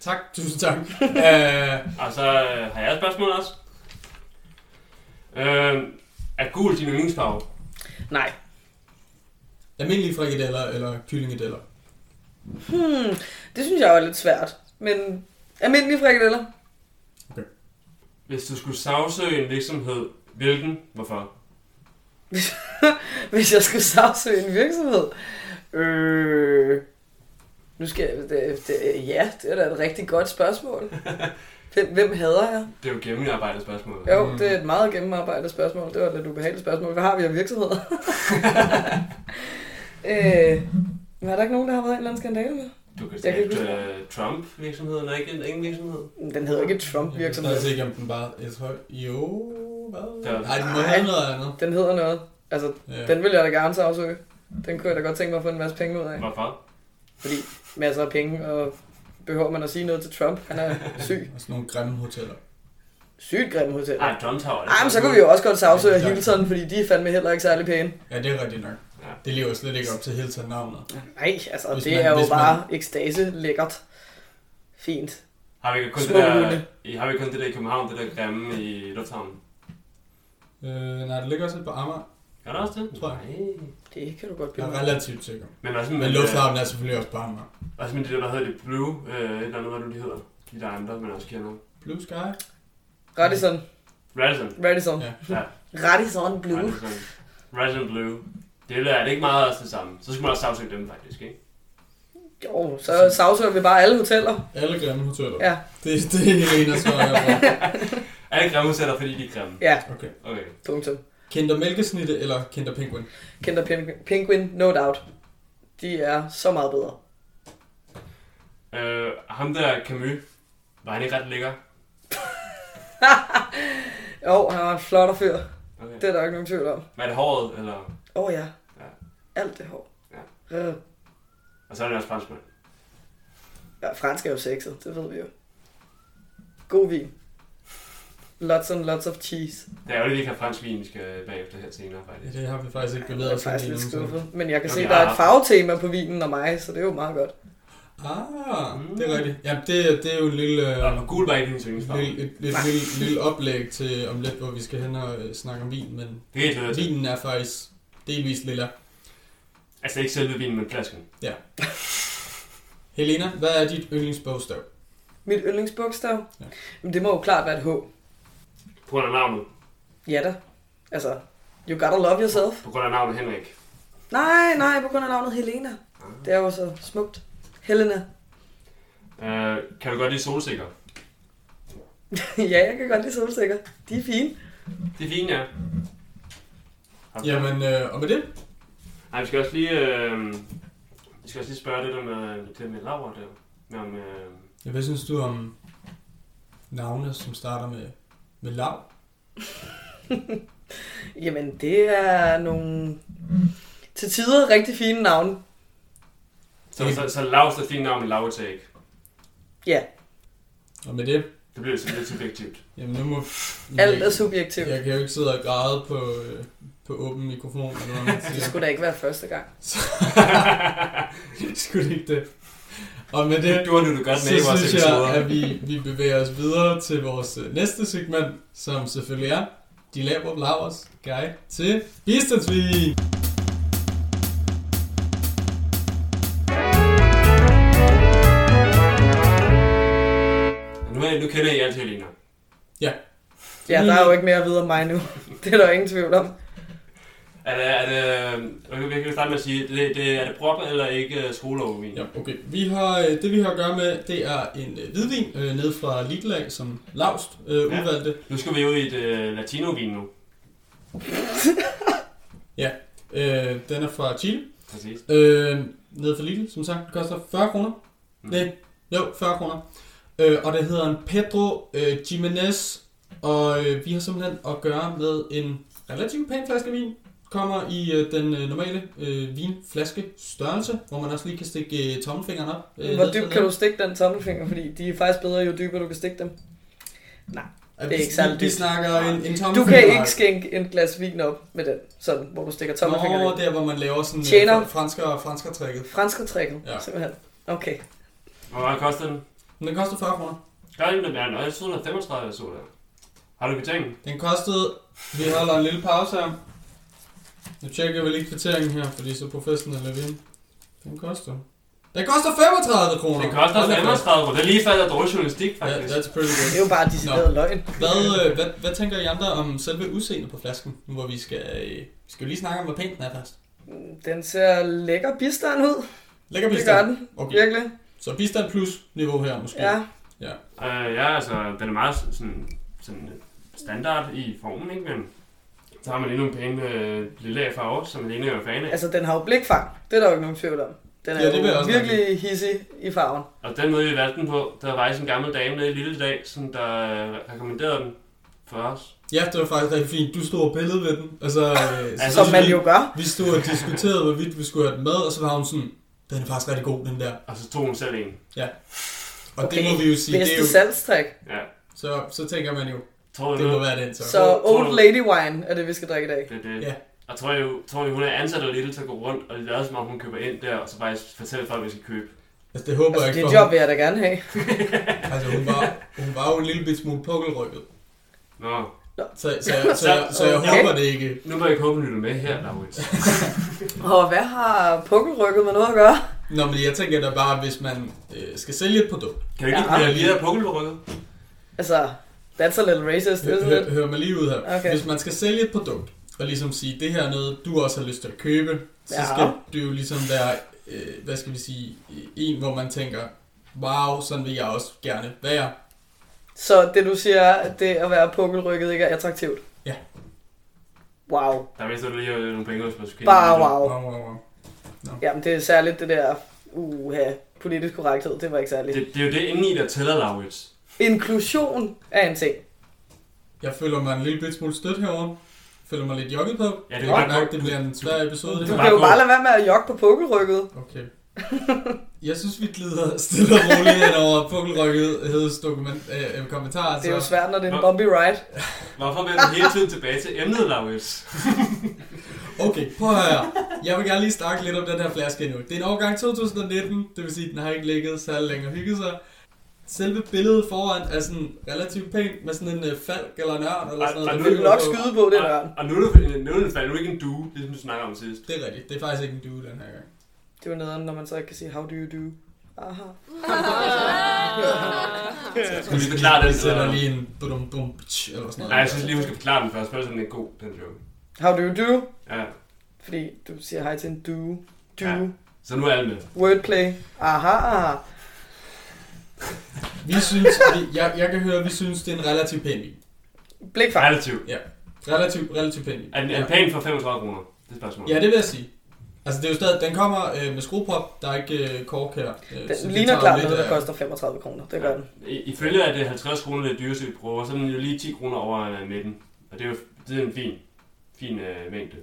Tak, tusind tak. øh,
Og så øh, har jeg et spørgsmål også. Øh, er gul din yndlingsfarve?
Nej.
almindelige frikadeller eller kyllingedeller?
Hmm, det synes jeg er lidt svært. Men almindelige frikadeller?
Hvis du skulle sagsøge en virksomhed, hvilken? Hvorfor?
Hvis jeg skulle sagsøge en virksomhed? Øh... Nu skal jeg... Det, det, ja, det er da et rigtig godt spørgsmål. Hvem, hvem hader jeg?
Det er jo gennemarbejdet spørgsmål.
Jo, det er et meget gennemarbejdet spørgsmål. Det var et lidt ubehageligt spørgsmål. Hvad har vi af virksomheder? øh, var der ikke nogen, der har været en eller anden skandale med?
Du kan
Jeg kan
tage
ikke huske
øh, Trump-virksomheden, og ikke en ingen virksomhed.
Den hedder ikke
Jeg ved
Trump-virksomhed.
faktisk ikke, om den bare er høj. Jo, hvad?
Ja.
Nej, den må have noget andet.
Den hedder noget. Altså,
Ja.
den vil jeg da gerne sagsøge. Den kunne jeg da godt tænke mig at få en masse penge ud af.
Hvorfor?
Fordi masser af penge, og behøver man at sige noget til Trump? Han er syg.
Og sådan nogle grimme hoteller.
Sygt grim hotel.
Ej, Trump Tower.
Ej, men så kunne vi jo også godt sagsøge Hilton, fordi de er fandme heller ikke særlig pæne.
Ja, det er rigtigt nok.
Ja.
Det lever slet ikke op til hele tiden navnet.
Nej, altså,
Hvis
det
man-
er jo
hvis man-
bare ekstase lækkert. Fint.
Har vi ikke kun det
Små
der,
hunde.
i, har vi ikke kun det der i København, det der grimme i Lufthavnen?
Øh, nej, det ligger også lidt på Amager,
Gør der også det?
Tror jeg.
Nej.
Det kan du godt
Jeg
blive.
er relativt sikker.
Men også
Men
øh,
med,
lufthavnen er selvfølgelig også på Amager.
øh, også med det der, der hedder det Blue, øh, et eller andet, hvad nu de hedder. De der andre, man også kender.
Blue Sky?
Radisson.
Radisson.
Radisson.
Ja.
Ja.
Radisson Blue.
Radisson. Radisson Blue. Det der er det ikke meget også det samme. Så skulle man også sagsøge dem faktisk, ikke?
Jo, så sagsøger vi bare alle hoteller.
Alle grimme hoteller.
Ja.
Det, det er Helena svar herfra.
Alle grimme sætter, fordi de er grimme.
Ja,
Okay.
Okay.
punktum.
Kinder Mælkesnitte eller Kinder Penguin?
Kinder Pen- Penguin, no doubt. De er så meget bedre.
Øh, ham der Camus, var han ikke ret lækker?
Jo, han var en flot fyr.
Okay.
Det er der ikke nogen tvivl om.
Var det håret, eller...
Åh oh, ja.
Ja.
Alt det hår. Ja. Øh,
Og så er det også franskmand.
ja, fransk er jo sexet, det ved vi jo. God vin. Lots and lots of cheese.
Det er jo ikke har fransk vin, vi skal bagefter her senere,
Ja,
faktisk.
det har vi faktisk ikke
Jeg
bevæget
er
os ind
faktisk
i
lidt
endnu, så-
skuffet. Men jeg kan
Nå,
se,
vi
der er
har-
et farvetema på vinen og mig, så det er jo meget godt.
Ah,
Mm.
det er rigtigt. Jamen, det, det er jo en lille, øh,
Og gul var ikke din yndlingsfarve.
lille, et, et, lille, lille oplæg til om lidt, hvor vi skal hen og øh, snakke om vin, men
Det er helt lille til.
vinen er faktisk delvist lilla.
Altså ikke selve vinen, men flasken.
Helena, hvad er dit yndlingsbogstav?
Mit yndlingsbogstav?
Ja.
Men det må jo klart være et H.
På grund af navnet.
Ja da. Altså, you gotta love yourself.
På grund af navnet Henrik.
Nej, nej, på grund af navnet Helena.
Ah.
Det er jo så smukt. Helena.
Øh, kan du godt lide solsikker?
ja, jeg kan godt lide solsikker. De er fine.
Det er fint, ja. Har du-
Jamen, øh, og med det?
Nej, vi skal også lige... Øh, vi skal også lige spørge det der med, det der med Laura der. Med om, øh,
Ja, hvad synes du om navne, som starter med, med lav?
Jamen, det er nogle til tider rigtig fine navne.
så, så, så Laus er fint navn, men Laura tager ikke.
Ja,
Og med det?
Det bliver sådan lidt subjektivt.
Jamen, nu må...
alt er
jeg,
subjektivt.
jeg kan jo ikke sidde og græde på, øh, på åben mikrofon. Eller hvad man
Det
siger.
skulle da ikke være første gang.
Skulle ikke det? Og med det...
Det gjorde du, du godt med i
Så
vores
synes jeg,
episoder.
at vi, vi bevæger os videre til vores øh, næste segment, som selvfølgelig er De Laver Lavers Guide til Bistandsvin.
Nu, er- nu kender I alt Helena.
Øh,
Ja, der er jo ikke mere at vide om mig nu. Det er der jo ingen tvivl om.
Er det, er det, øh, vi kan jo starte med at sige, det, det, er det prop eller ikke øh, skoleovervin?
Ja, okay. Vi har, øh, det vi har at gøre med, det er en øh, hvidvin øh, nede fra Lidl af, som Laust øh, ja. udvalgte.
Nu skal vi ud i et øh, latinovin nu.
Øh, den er fra Chile.
Præcis.
Øh, nede fra Lidl, som sagt. Den koster 40 kroner. Mm. Nej, jo, 40 kroner. Øh, og det hedder en Pedro øh, Jimenez. Og øh, vi har simpelthen at gøre med en relativt pæn flaske vin. Kommer i øh, den øh, normale øh, vinflaske størrelse, hvor man også lige kan stikke øh, tommelfingeren op. Øh, ned
Hvor dybt
til
kan
ned.
du stikke den tommelfinger? Fordi de er faktisk bedre, jo dybere du kan stikke dem.
Øh,
det er
vi-
ikke særlig
Vi, vi
dybt.
snakker en, en tommelfinger.
Du kan ikke skænke en glas vin op med den, sådan, hvor du stikker tommelfingeren
Nå,
ind.
der hvor man laver sådan
Tjener.
øh, fransker, fransker trækket.
Franske trækket,
Ja.
ja. simpelthen. Okay.
Hvor meget koster den?
Men den koster 40 kroner.
Gør det, den er jeg troede, den er 35, jeg så der. Har du betænkt?
Den kostede... Vi holder en lille pause her. Nu tjekker jeg vel ikke kvitteringen her, fordi så professionelle er vi. Den koster... Den koster 35 kroner!
Den koster
Hold da fast.
35 kroner. Det er lige faldet af dårlig journalistik,
Ja,
faktisk.
that's pretty
Det
good.
er jo bare decideret løgn.
Hvad, øh, hvad, hvad tænker I andre om selve udseendet på flasken? Nu hvor vi skal... øh, Vi skal jo lige snakke om, hvor pænt den er først.
Mm, Den ser lækker bistand ud.
øh? Lækker
Det gør
bistand.
den,
Okay,
virkelig.
så bistand plus niveau her måske.
Ja.
Øh, ja, altså, den er meget sådan, sådan standard i formen, ikke? Men så har man lige nogle pæne øh, lille farver, som Lene er fan af.
Altså, den har jo blikfang. Det er der jo ikke nogen tvivl om. Den er
Ja, det vil jeg
jo
også
virkelig hissig i farven.
Og den måde, vi valgte den på, der var faktisk en gammel dame nede i Lille Dag, som der øh, rekommenderede den for os.
Ja, det var faktisk rigtig fint. Du stod og pillede ved den. Altså, øh, så-
Altså,
Som
så
man
vi-
jo gør.
Vi stod og diskuterede, hvorvidt vi skulle have den med, og så var hun sådan, den er faktisk rigtig god, den der.
Og så tog hun selv en.
Og okay. det må vi jo sige, det er
Bedste
jo,
salgstræk.
Ja.
så, så tænker man jo,
Tror
det
nu,
må være den så.
Så
Tror- tror
Old
du-
Lady Wine er det, vi skal drikke i dag.
Det, er det.
Ja.
Og tror jeg, tror jeg, hun er ansat af Lille til at gå rundt, og det lader som om, hun køber ind der, og så faktisk fortæller folk, hvad vi skal købe.
Altså, det håber jeg
Altså,
ikke,
det
for
job vil jeg da gerne have.
hun, altså, hun, var, hun var jo en lille bit smule pukkelrykket.
Nå,
Så, så, så, så, jeg- så jeg
Okay.
håber det ikke.
nu må jeg ikke håbe, hun lytter med her, Laurits.
Og hvad har pukkelrykket med noget at gøre?
Nå, men jeg tænker da bare, hvis man øh, skal sælge et produkt,
Kan vi ikke
Ja.
ja, lige have pukkel på rykket?
Altså, that's a little racist,
hør,
isn't it?
hør, hør mig lige ud her.
Okay.
Hvis man skal sælge et produkt, og ligesom sige, det her er noget, du også har lyst til at købe, så
Ja.
skal det jo ligesom være, øh, hvad skal vi sige, en, hvor man tænker, wow, sådan vil jeg også gerne være.
Så det, du siger, er, at det at være pukkelrykket ikke er attraktivt?
Ja.
Wow.
Der mister du lige øh, nogle penge hos måske.
Bare wow.
Wow, wow, wow.
Jamen, det er særligt det der, uha, politisk korrekthed, det var ikke særligt.
Det, det, er jo det indeni, der tæller, Laurits.
Inklusion er en ting.
Jeg føler mig en lille bit smule stødt herovre. Føler mig lidt jogget på.
Ja, det er
Godt
bare
nok,
godt.
det bliver en svær episode. Det
Du
her.
kan jo
god.
bare lade være med at jogge på pukkelrykket.
Okay. Jeg synes, vi glider stille og roligt hen over pukkelrykket dokument, øh, øh, kommentarer.
Det er jo
Så.
svært, når det er en bumpy ride.
Hvorfor vender du hele tiden tilbage til emnet, Laurits?
Okay, prøv at høre. Jeg vil gerne lige snakke lidt om den her flaske endnu. Det er en årgang 2019, det vil sige, at den har ikke ligget særlig længe og hygget sig. Selve billedet foran er sådan relativt pænt med sådan en øh, falk eller en ørn eller
Ej,
sådan
ej,
noget. der
nu er
Du vil
flyver
nok
på.
skyde på det der.
og, og nu er du, nu er du, fald, nu er du ikke en due, ligesom du snakker om sidst.
Det er rigtigt. Det er faktisk ikke en due den her gang.
Det er jo nederen, når man så ikke kan sige, how do you do? Aha.
Skal vi lige forklare den?
Vi sætter lige en bum bum tsch, eller sådan noget. Altså,
Nej, jeg synes lige, hun skal forklare den først, for ellers er den ikke god, den joke.
How do you do?
Ja,
Fordi du siger hej til en do. Do.
Ja. så nu er alle med.
Wordplay. Aha, aha.
Vi synes, vi, jeg, jeg kan høre, at vi synes, det er en relativt pæn vin.
Blikfang.
Relativt.
Relativt, relativt pæn vin.
Er den er den
ja.
pæn for 35 kroner? Det er spørgsmålet.
ja, det vil jeg sige. Altså, det er jo stadig, den kommer øh, med skrueprop, der er ikke øh, kork her. Øh, så
Den
vi
ligner
tager
klart
lidt
noget, der
af-
koster 35 kroner. Det gør den.
I- Ifølge at det er 50 kroner, det dyreste vi prøver, så er den jo lige 10 kroner over øh, midten. Og det er jo det er en fin, fin øh, mængde.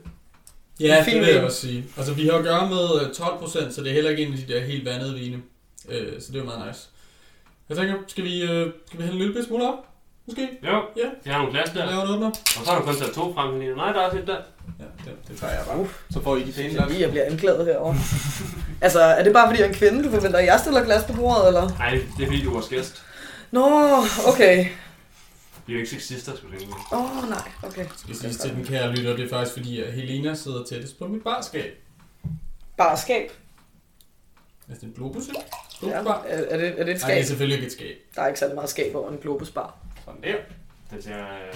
Ja,
Fin
det vil jeg
vin.
også sige. Altså, vi har at gøre med øh, 12 procent, så det er heller ikke en af de der helt vandede vine. Øh, så det er jo meget nice. Jeg tænker, skal vi, øh, skal vi hælde en lille bitte smule op? Måske?
Jo,
Ja.
de har nogle glas der.
Ja. Lave en åbner?
Og så har du kun taget to frem, Helene. Nej, der er også et der.
Ja, det, det tager jeg bare. Så får I de pæne
Fordi jeg bliver anklaget herovre. altså, er det bare fordi jeg er en kvinde, du forventer, at jeg stiller glas på bordet, eller?
Nej, det er fordi, du er vores gæst.
Nå, okay.
Vi er jo ikke sexister, skulle jeg tænke mig.
Åh, oh, nej, okay.
Det skal siges til den kære lytter, det er faktisk fordi, at Helena sidder tættest på mit barskab.
Bare skab.
Altså, det er en globus, ikke?
Ja.
Globusbar. Ja.
Er, er, det, er det et
Nej, det
skab?
er selvfølgelig ikke et skab.
Der er ikke særlig meget skab over en globusbar.
Sådan der. Den ser, øh,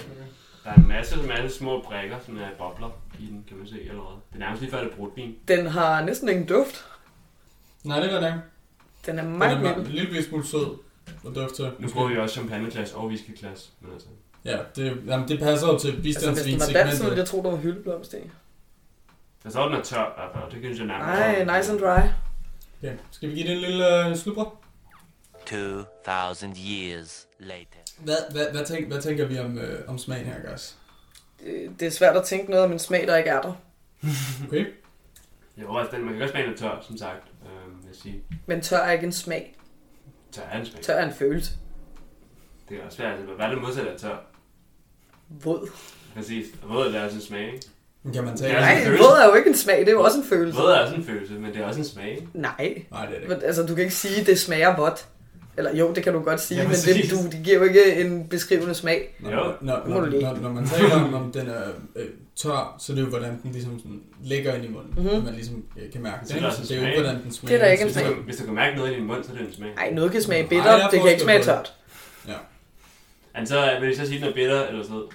der er en masse, masse små brækker, som er bobler i. i den, kan man se allerede. Det er nærmest lige før, det er brutvin.
Den har næsten ingen duft.
Nej, det gør det ikke.
Den er
Den
meget
er en
mild.
lille smule sød og duft til.
Nu bruger vi også champagneglas og whiskyglas, men altså...
Ja, det, jamen, det passer jo til
Altså, hvis den var dansk, så ville
øh.
jeg tro, der var hyldeblomst i.
Der står, den er tør, i hvert fald, og det synes jeg nærmest.
Nej, nice and dry.
Ja. Skal vi give det en lille øh, sludre?
2,000 years later.
Hvad, hvad, hvad, tænk, hvad tænker vi om, øh, om smagen her, guys?
Det- Det er svært at tænke noget om en smag, der ikke er der.
Okay?
Jo, altså, den, man kan godt smage den er tør, som sagt. Øhm, vil jeg sige,
Men tør er ikke en smag.
tør er en smag.
Tør er en følelse.
Det er også svært, altså, hvad er det modsatte af tør?
Våd.
Præcis. Og våd er også en smag, ikke?
Kan man tage?
Ja.
Nej,
en følelse.
våd er jo ikke en smag, det er jo også en følelse.
Våd er også en følelse, men det er også en smag, ikke?
Nej,
Nej, det er det ikke.
men, altså du kan ikke sige, det smager vådt. Eller jo, det kan du godt sige,
Ja,
ja, men
præcis.
det, du, det giver jo ikke en beskrivende smag.
Når,
Jo.
når, når,
Må du
når,
lige.
når, når man taler om, om den er øh, tør, så er det jo, hvordan den ligesom sådan ligger ind i munden.
Mhm.
Mm-hmm. Man ligesom øh, kan mærke
Så
det. ikke?
er altså der
Så
også
det er jo
smag.
ikke, hvordan den smager. altså,
Det er der ikke en
Hvis du,
Så-
kan, hvis du kan mærke noget i din mund, så er det en smag.
Nej, noget kan smage
Nej,
bitter,
jeg
det kan
forstår
ikke smage
godt.
tørt.
Ja.
Altså, vil jeg så sige, den er bitter eller sådan noget?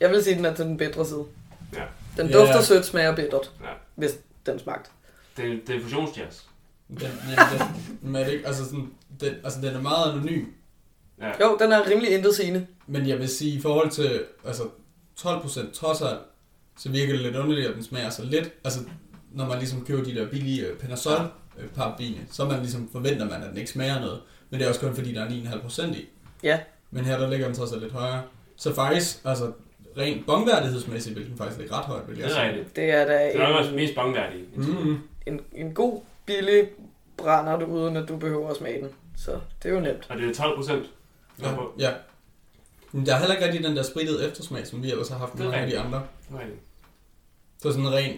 Jeg vil sige, den er til den bedre side.
Ja.
Den
Ja.
dufter sødt, smager bittert,
Ja.
hvis den smagte.
Det, det er fusionsjazz.
Den, jamen, den, men er det ikke, altså, sådan, den, altså, den er meget anonym.
Ja.
Jo, den er rimelig intetsigende.
Men jeg vil sige, i forhold til altså, 12% trods alt, så virker det lidt underligt, at den smager så lidt. Altså, når man ligesom køber de der billige øh, Panasol øh, paraffiner, så man ligesom forventer man, at den ikke smager noget. Men det er også kun fordi, der er 9,5% i.
Ja.
Men her, der ligger den trods alt lidt højere. Så faktisk, altså rent bongværdighedsmæssigt, vil den faktisk ligge ret højt, vil
Det
jeg
er
sige.
rigtigt.
Det er da
Det er nok også
en,
mest bangværdige.
Mm-hmm.
en, en god, billig brænder, du, uden at du behøver at smage den. Så det er jo nemt.
Og det er 12 procent.
Ja. ja. Men der er heller ikke rigtig den der sprittede eftersmag, som vi ellers har haft
Det
med
er
mange af de
rigtigt.
andre. Så sådan ren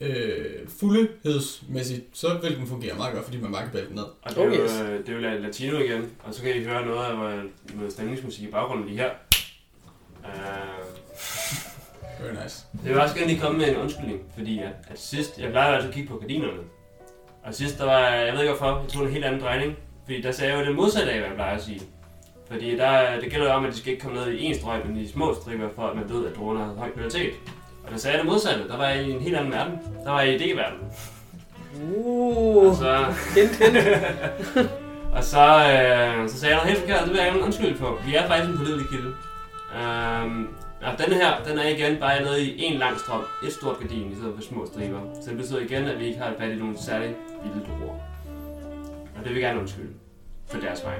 øh, fuldhedsmæssigt, så vil den fungere meget godt, fordi man bare kan bælge den ned.
Og det er,
Oh,
jo,
yes.
øh, det er jo latino igen, og så kan I høre noget af øh, noget stemningsmusik i baggrunden lige her. Øh,
Very nice.
jeg vil også gerne lige komme med en undskyldning, fordi at, at sidst, jeg plejer jo altid at kigge på gardinerne, og sidst der var, jeg ved ikke hvorfor, jeg tog en helt anden drejning, fordi der sagde jeg jo det modsatte af, hvad jeg plejer at sige. Fordi der, det gælder jo om, at de skal ikke komme ned i en strøg, men i små striber, for at man ved, at druerne har høj kvalitet. Og der sagde jeg det modsatte, der var jeg i en helt anden verden, der var jeg i idéverdenen.
Uh,
Og så,
hint, hint.
Og så, øh, så sagde jeg noget helt forkert, og det vil jeg gerne undskylde på. Vi er faktisk en pålidelig kilde. Øhm, og den her, den er igen bare nede i en lang strøm. Et stort gardin i stedet for små striber. Så det betyder igen, at vi ikke har fat i nogle særlig vilde druer. Og det vil jeg gerne undskylde. For deres vej.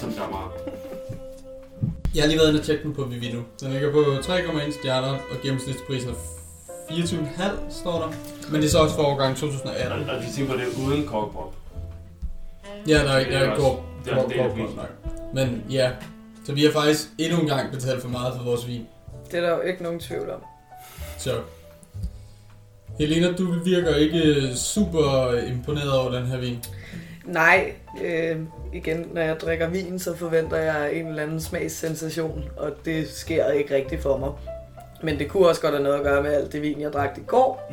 Som dommer.
Jeg har lige været inde og tjekke den på Vivino. Den ligger på 3,1 stjerner, og gennemsnitsprisen er 24,5 står der. Men det er så også for årgang 2018.
Og, og vi tænker på det er uden korkbrop.
Ja, der er ikke
Det er
der er ikke
også-
går
det er også
går-
en del af
går-
prisen.
går- nej. Men ja, så vi har faktisk endnu en gang betalt for meget for vores vin.
Det er der jo ikke nogen tvivl om.
Så Helena, du virker ikke øh, super imponeret over den her vin.
Nej, øh, igen, når jeg drikker vin, så forventer jeg en eller anden smagssensation, og det sker ikke rigtigt for mig. Men det kunne også godt have noget at gøre med alt det vin, jeg drak i går,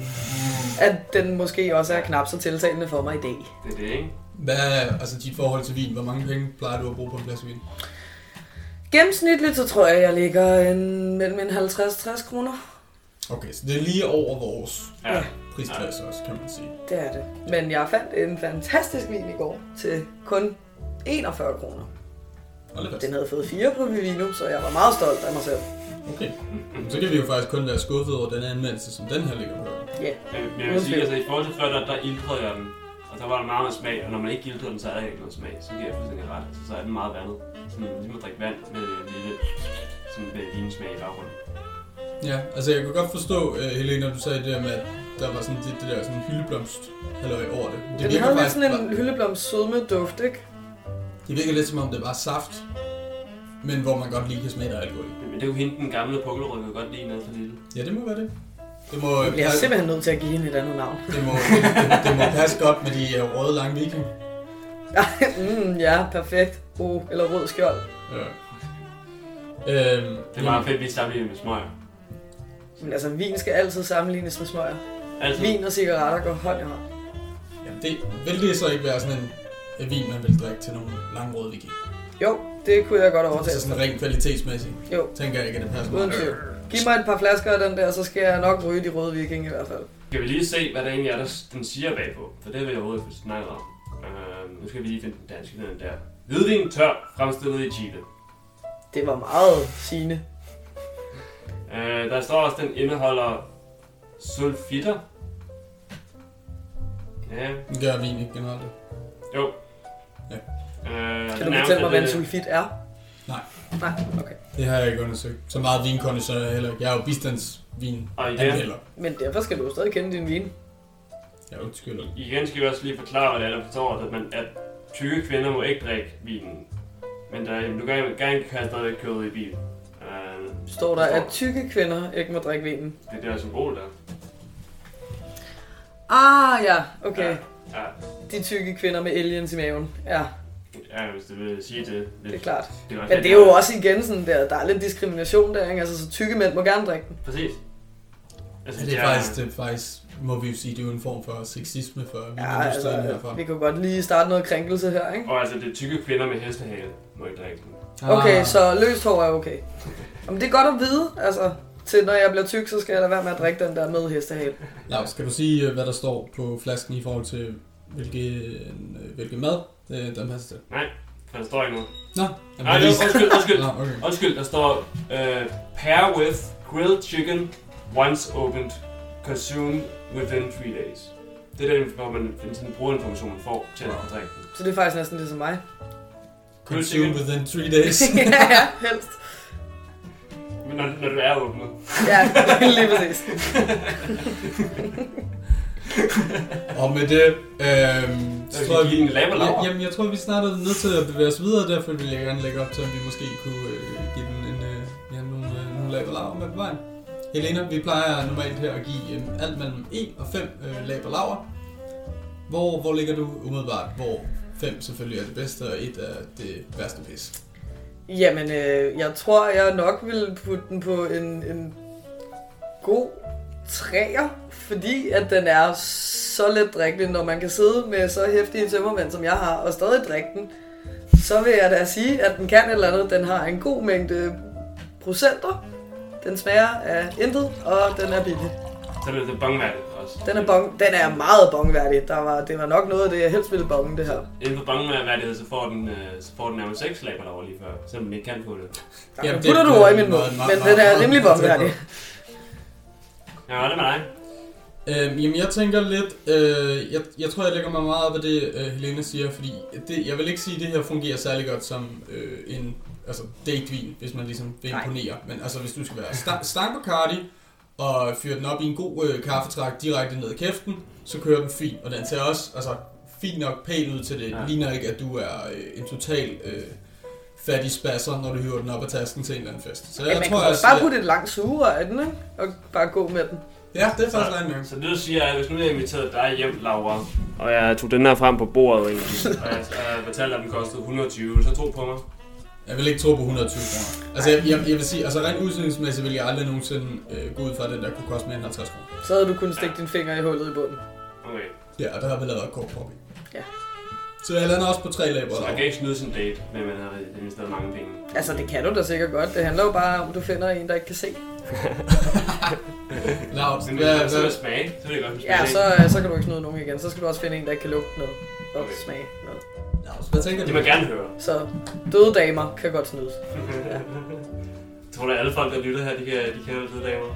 at den måske også er knap så tiltalende for mig i dag.
Det er det, ikke?
Hvad er altså dit forhold til vin? Hvor mange penge plejer du at bruge på en flaske vin?
Gennemsnitligt, så tror jeg, jeg ligger en, mellem en 50-60 kroner.
Okay, så det er lige over vores
Ja.
prisklasse også, kan man sige.
Det er det. Men jeg fandt en fantastisk vin i går til kun 41 kroner.
Hold da fast.
Den havde fået 4 på Vivino, så jeg var meget stolt af mig selv.
Okay. Jamen, Så kan vi jo faktisk kun være skuffet over den anmeldelse, som den her ligger på.
Ja,
Jeg, jeg vil sige, altså i forhold til før, der, der ildrede jeg den. Og der var der meget med smag, og når man ikke ildrede den, så er der ikke noget smag. Så giver jeg fuldstændig ret. Altså, så er den meget vandet. Sådan ligesom at drikke vand med lille sådan med vinsmag i baggrunden.
Ja, altså jeg kunne godt forstå, uh, Helena, du sagde det der med, at der var sådan det, det der sådan hyldeblomst halløj over det. Det
den havde lidt sådan
bare-
en hyldeblomst sødme duft, ikke?
det virker lidt som om, det er bare saft, men hvor man godt lige kan smage der er alkohol. i.
Men det er jo hende, den gamle pukkelryg, jeg godt lide nede for lille.
Ja, det må være det. Det må,
Jeg bliver simpelthen nødt til at give hende et andet navn.
det, må, det, det, det må passe godt med de øh, røde lange viking.
mm, ja, perfekt. Oh, eller rød skjold.
Ja. Øhm,
Det er meget fedt, vi sammenligner med smøger.
Men altså, vin skal altid sammenlignes med smøger.
Altså,
Vin og cigaretter går hånd i hånd.
Jamen, det, vil det så ikke være sådan en, en vin, man vil drikke til nogle lange røde viking?
Jo, det kunne jeg godt
Altså
overtage.
sådan rent kvalitetsmæssigt,
Jo,
tænker jeg ikke, at det passer
uden
meget.
tvivl. Giv mig et par flasker af den der, så skal jeg nok ryge de røde viking i hvert fald.
Skal vi lige se, hvad der egentlig er, der s- den siger bagpå? For det vil jeg overhovedet ikke snakke om. Uh, nu skal vi lige finde den danske den der. Hvidvin tør, fremstillet i Chile.
Det var meget sigende.
Uh, der står også, at den indeholder sulfitter. Ja,
Det gør vin ikke generelt.
jo.
Ja.
Øh,
Kan du fortælle mig, hvad en sulfit er?
Nej.
Nej, okay.
Det har jeg ikke undersøgt. Så meget vinkonnoisseur er jeg heller ikke. Jeg er jo bistandsvin.
Og igen,
Anmelder.
Men derfor skal du jo stadig kende din vin.
Ja, undskyld.
igen skal vi også lige forklare, hvordan der forstår, at, man, at 20 kvinder må ikke drikke vinen. Men der, jamen, du kan gerne kan stadigvæk køre ud i bilen. Øh,
Står der, at tykke kvinder ikke må drikke vinen.
det der symbol der.
Ah ja, okay.
Ja, ja.
De tykke kvinder med aliens i maven. Ja,
Ja, hvis du vil sige det.
det er klart.
Det er, også
Men
lidt-
det er jo også igen sådan der, der er lidt diskrimination der, ikke? Altså, så tykke mænd må gerne drikke den.
Præcis. Altså,
Ja, det er faktisk, det er faktisk, må vi jo sige, det er jo en form for sexisme for
Ja, altså,
vinindustrien herfra.
vi kan jo godt lige starte noget krænkelse her, ikke?
Og altså, det er tykke kvinder med hestehale, må ikke drikke den.
Okay,
Ah.
så løst hår er okay. Jamen, det er godt at vide, altså. Til når jeg bliver tyk, så skal jeg lade være med at drikke den der med hestehale.
Lav, skal du sige, øh, hvad der står på flasken i forhold til, hvilke, øh, hvilke mad øh, den passer til?
For der står ikke noget.
Nå,
Nej, det er- undskyld, undskyld.
Nå, okay.
Undskyld, der står øh, pair with grilled chicken once opened, consumed within three days. Det er den, hvor man det er sådan en brugerinformation, man får til at drikke den.
Så det er faktisk næsten ligesom mig.
Consume within three days.
ja, helst.
Men når, når du er åbnet.
Ja, lige præcis.
Og med det, øh,
Så tror jeg, vi en lab og
Ja,
laver.
jamen, jeg tror, vi snart er nødt til at bevæge os videre, derfor vil jeg gerne lægge op til, at vi måske kunne øh, give den en, øh, ja, nogle, øh, nogle lag og laver med på vejen. Helena, vi plejer normalt her at give øh, alt mellem 1 og 5 øh, lag og laver. Hvor, hvor ligger du umiddelbart? Hvor 5 selvfølgelig er det bedste, og 1 er det værste pis.
Jamen, øh, jeg tror, jeg nok ville putte den på en, en god træer, fordi at den er så let drikkelig, når man kan sidde med så hæftige tømmermænd, som jeg har, og stadig drikke den, så vil jeg da sige, at den kan et eller andet. Den har en god mængde procenter, den smager af intet, og den er billig.
Så er det det bongværdigt også.
Den er, bong, den er meget bongværdig. Der var, det var nok noget af det, jeg helst ville bonge, det her.
Inden for bongværdighed, så får den, øh, så får den nærmest seks lab og laver lige før, selvom den ikke kan få det.
Ja,
Jamen,
nu
det
putter du
er
over i min
meget,
mund,
meget,
men
meget,
den er
meget,
nemlig
meget
bongværdig.
Ja, hvad er det med dig?
Øhm, jamen, jeg tænker lidt... Øh, jeg, jeg tror, jeg lægger mig meget op af det, øh, Helena siger, fordi det, jeg vil ikke sige, at det her fungerer særlig godt som øh, en altså datevin, hvis man ligesom vil
Nej.
imponere. Men altså, hvis du skal være sta- stang på Cardi og fyre den op i en god øh, kaffetrakt direkte ned i kæften, så kører den fint, og den ser også altså, fint nok pæn ud til det.
Ja.
Ja. Ligner ikke, at du er øh, en total øh, fattig spasser, når du hiver den op af tasken til en eller anden fest. Så jeg
Ja, man
tror,
kan
jeg...
også bare putte et langt sugerør i den, ikke? Og bare gå med den.
Ja, det er faktisk rent nok.
Så det du siger, er, at hvis nu jeg inviterede dig hjem, Laura, og jeg tog den her frem på bordet, egentlig, og jeg, jeg fortalte, at den kostede 120, så tro på mig.
Jeg vil ikke tro på 120 kroner. Altså, jeg, jeg, jeg vil sige, altså rent udstillingsmæssigt vil jeg aldrig nogensinde øh, gå ud fra, at den der kunne koste mere end 50 kroner.
Så havde du kunnet stikke dine fingre i hullet i bunden.
Okay,
Ja, og der har vi lavet et kort pop i.
Ja.
Så jeg lander også på tre laber.
så man
derovre.
kan ikke snyde sin date, men man havde investeret mange penge.
Altså, det kan du da sikkert godt. Det handler jo bare om, du finder en, der ikke kan se.
Laut,
Men
hvad,
hvis det er
hvad,
smage, så vil jeg godt
Ja,
smage.
så, øh, så kan du ikke snyde nogen igen. Så skal du også finde en, der ikke kan lugte noget og
Okay.
smage noget.
Laut, hvad tænker
Det
du?
må jeg gerne høre.
Så døde damer kan godt snydes. Ja.
Tror du, at alle folk, der lytter her, de kan, de kan det damer?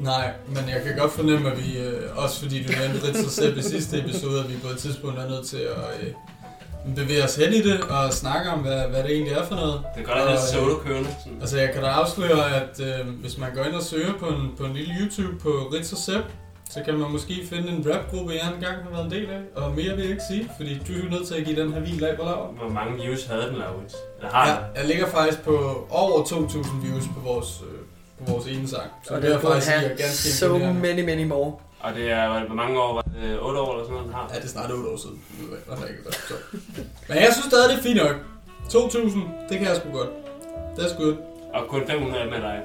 Nej, men jeg kan godt fornemme, at vi, øh, også fordi du nævnte Ritz selv i sidste episode, at vi på et tidspunkt er nødt til at øh, bevæge os hen i det og snakke om, hvad, hvad det egentlig er for noget.
Det er godt at have
Og, øh,
solo kørende. Sådan.
Altså, jeg kan da afsløre, at øh, hvis man går ind og søger på en, på en lille YouTube på Ritz og Sepp, så kan man måske finde en rapgruppe, jeg engang har været en del af. Og mere vil jeg ikke sige, fordi du er jo nødt til at give den her vin lab og laver.
Hvor mange views havde den, Laurits? Eller har den?
Jeg, jeg ligger faktisk på over 2.000 views på vores, øh, på vores ene sang. Så
Og
det er
den burde
faktisk jeg er
have
ganske
so
imponerende.
many, many more.
Og det er, hvor- hvor mange år var det? 8 år eller sådan noget, den har?
Ja, det er snart 8 år siden. Nu ved jeg, der er ikke så. Men jeg synes stadig, det er fint nok. 2.000, det kan jeg sgu godt. Det er sgu godt.
Og kun 500 af med dig.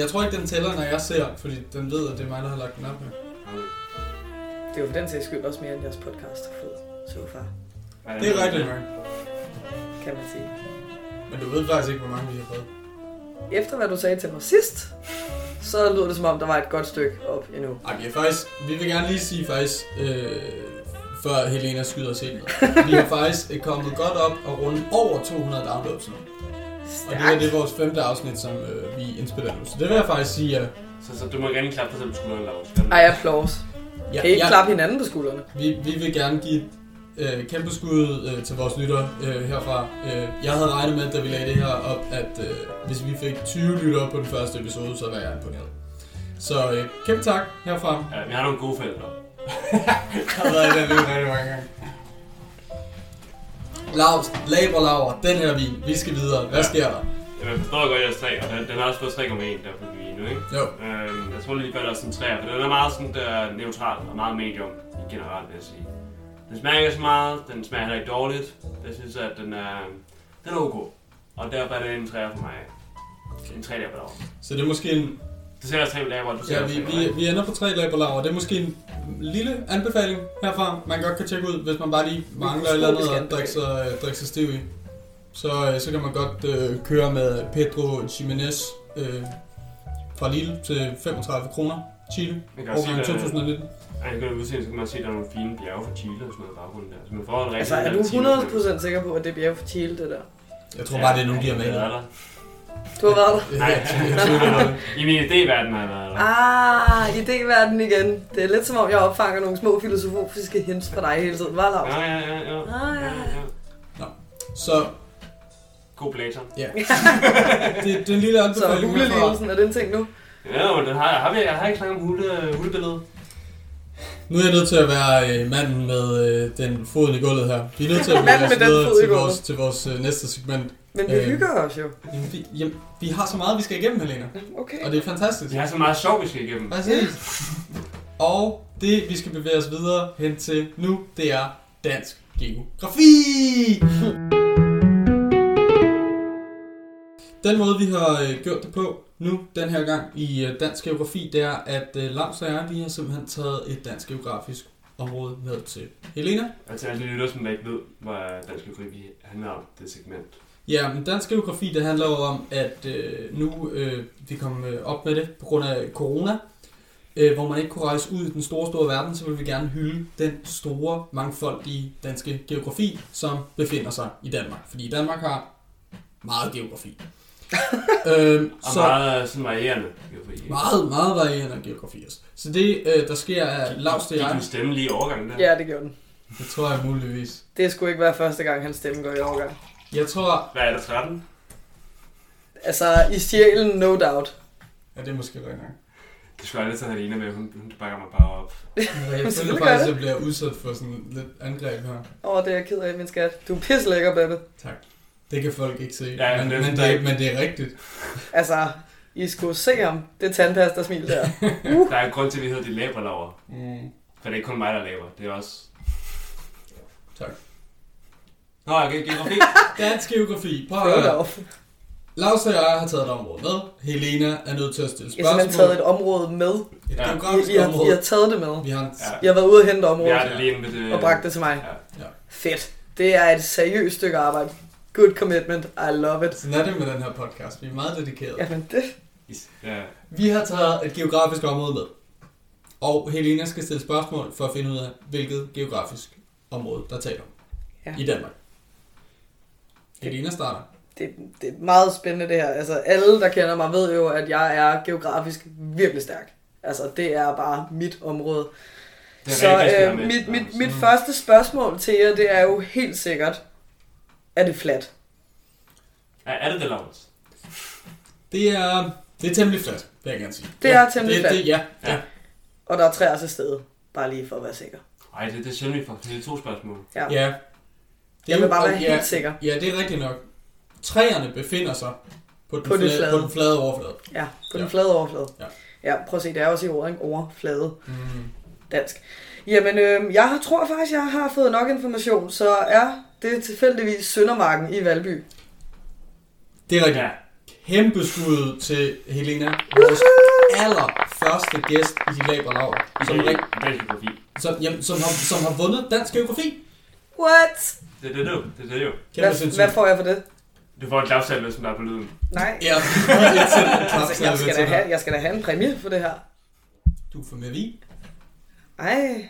Jeg tror ikke, den tæller, når jeg ser, fordi den ved, at det er mig, der har lagt den op her.
Okay.
Det er jo for den sags skyld også mere, end jeres podcast har fået så far,
Det er rigtigt nok.
kan man sige.
Men du ved faktisk ikke, hvor mange vi har fået.
efter hvad du sagde til mig sidst, så lyder det som om, der var et godt stykke op endnu.
Ej, vi, er faktisk, vi vil gerne lige sige faktisk, øh, før Helena skyder os ind. Vi er faktisk øh, kommet godt op og rundet over 200 downloads nu. Og det er
Stærkt.
det er vores femte afsnit, som øh, vi indspiller nu. Så det vil jeg faktisk sige, at
Så, så du må gerne klappe dig selv på skulderen, Lars.
Ej, applaus.
ja,
Kan I ikke
ja,
klappe hinanden på skuldrene?
vi, vi vil gerne give et øh, kæmpe skud øh, til vores lytter øh, herfra. Øh, jeg havde regnet med, da vi lagde det her op, at øh, hvis vi fik 20 lyttere på den første episode, så var jeg imponeret. Så øh, kæmpe tak herfra.
Ja, vi har nogle gode forældre.
Jeg har været i den lyd rigtig mange gange. Lavs, laber, laver, den her vin, vi skal videre. Hvad
Ja.
sker der?
Jamen, jeg forstår godt jeres 3, og den, den har også fået 3,1 der på vi nu, ikke?
Jo,
Øhm, jeg tror lige før, der er sådan 3, for den er meget sådan der neutral og meget medium i generelt, vil jeg sige. Den smager ikke så meget, den smager heller ikke dårligt. Jeg synes, at den er, den er ok. Og derfor er det en 3 for mig. En 3 der på laver.
så det er måske en...
Du sælger 3 laver, du
Ja,
sælger
vi,
3
vi, vi ender på tre laber, laver. Det er måske en lille anbefaling herfra, man godt kan tjekke ud, hvis man bare lige mangler et eller andet
Mikroskopisk
at drikke sig, øh, drikke sig stiv i. Så, øh, så kan man godt øh, køre med Pedro Jimenez øh, fra Lille til 35 kroner. Chile,
Man kan også sige,
årgang
at
2019.
ja, det kan du udse, så kan man se, at der er nogle fine bjerge fra Chile og sådan noget i baggrunden der. Så man får en rigtig
Altså, er du 100% sikker på, at det er bjerg for Chile, det der?
Jeg tror bare, det er nogen, de har med.
der.
Du har været der?
Nej,
Jeg tvivler på det.
i min idéverden har jeg været der.
Ah, idéverden igen. Det er lidt som om, jeg opfanger nogle små filosofiske hints fra dig hele tiden. Var Lars?
Ja, ja, ja, ja.
Ah,
ja,
ja.
ja.
Så
God blæser.
Ja. det, det er en lille
Så
anbefaling herfra.
hulelivelsen, er det en ting nu?
Ja, men den har, har vi, jeg har ikke snakket om hule, hulebilledet.
Nu er jeg nødt til at være øh, manden med øh, den foden i gulvet her. Vi er nødt til at
Manden
bevæge os
med den fod
videre
i
til
gulvet.
vores, til vores øh, næste segment.
Men vi
Øh.
hygger os jo.
Jamen, vi, jamen, vi har så meget, vi skal igennem, Helena.
Okay.
Og det er fantastisk.
Vi har så meget sjov, vi skal igennem.
Præcis. Og det, vi skal bevæge os videre hen til nu, det er dansk geografi. Den måde, vi har øh, gjort det på nu, den her gang i øh, dansk geografi, det er, at øh, Lams og jeg, vi har simpelthen taget et dansk geografisk område med til Helena.
Og til alle de lytter, som ikke ved, hvad dansk geografi handler om, det segment.
Ja, men dansk geografi, det handler jo om, at øh, nu øh, vi kom øh, op med det på grund af corona, øh, hvor man ikke kunne rejse ud i den store, store verden, så vil vi gerne hylde den store, mangfoldige danske geografi, som befinder sig i Danmark. Fordi Danmark har meget geografi. øh,
Og så... meget øh, sådan varierende geografi.
meget, meget varierende geografi også. Så det, øh, der sker, er lavst det
Gik
jeg,
din stemme lige i overgangen der?
Ja, det gjorde den.
det tror jeg muligvis.
Det skulle ikke være første gang, hans stemme går i overgang.
Jeg tror,
Hvad er der, 13?
Altså, i sjælen, no doubt.
ja, det er måske rigtig nok.
Det skulle jeg aldrig tage Helena med, hun, hun bakker mig bare op.
Jeg føler
Selvfølgelig gør
faktisk, at
det.
jeg bliver udsat for sådan lidt angreb her.
Åh, oh, det er jeg ked af, min skat. Du er pislækker, Bette.
Tak. Det kan folk ikke se,
Ja,
men,
det er
men,
sådan,
det,
der-
men det er rigtigt.
Altså, I skulle se ham. Det tandpas, der smil der.
Der er en grund til, at vi hedder de laberlaver.
Mm.
For det er ikke kun mig, der laver. Det er også...
Tak.
Nå, okay, geografi.
Dansk geografi. Prøv
Prøv
at
dig
høre.
op.
Lars og jeg har taget et område med. Helena er nødt til at stille
Jeg har
spørgsmål.
simpelthen taget et område med.
et
Ja.
I,
geografisk
I, har, I
område.
har taget det med.
Vi har en...
Ja.
Jeg har været ude og hente
Jeg
området
er alene med det.
og bragt det til mig.
Øh, Ja.
Fedt. Det er et seriøst stykke arbejde. Good commitment. I love it.
Sådan er det med den her podcast. Vi er meget dedikerede.
Jamen, det...
Is- Ja.
Vi har taget et geografisk område med. Og Helena skal stille spørgsmål for at finde ud af, hvilket geografisk område, der taler om
Ja.
i Danmark. Helena starter.
det, det er meget spændende det her. Altså, alle, der kender mig, ved jo, at jeg er geografisk virkelig stærk. Altså, det er bare mit område.
Det er
Så
rigtig, jeg skal
øh,
have med.
mit, mit, mit
Mm.
første spørgsmål til jer, det er jo helt sikkert, er det flat?
Ja, er det det, Lars?
Det er, det er temmelig fladt, vil jeg gerne sige.
Det
ja,
er temmelig
det,
fladt.
Det, ja, ja.
Og der er træer til stede, bare lige for at være sikker.
Ej, det, det er sjældent, vi får det er to spørgsmål.
Ja.
Ja. Det er
Jeg vil
jo-
bare være
og- ja,
helt sikker.
Ja, det er rigtigt nok. Træerne befinder sig på den,
På det
flade,
flade.
på den flade overflade.
Ja, på den
Ja.
flade overflade.
Ja.
ja, prøv at se, det er også i ordet, ikke? Overflade.
Mm.
dansk. Jamen, øh, jeg har- tror faktisk, jeg har fået nok information, så er det tilfældigvis Søndermarken i Valby.
Det er rigtigt.
Ja.
Ja. Kæmpe skud til Helena, vores allerførste gæst i de laber laver, som,
det,
rigt-
det er geografi.
som, jamen, som, har, som har vundet dansk geografi.
What?
Det er det, det, er jo. det, er det jo.
Kæmpe
Hvad,
sindssygt.
hvad får jeg for det?
Du får en klapsalve, som der er på lyden.
Nej,
Ja, jeg sender en
altså, jeg,
klapsalve
skal
til
da
dig.
have, jeg skal da have en præmie for det her.
Du får med vin.
Ej,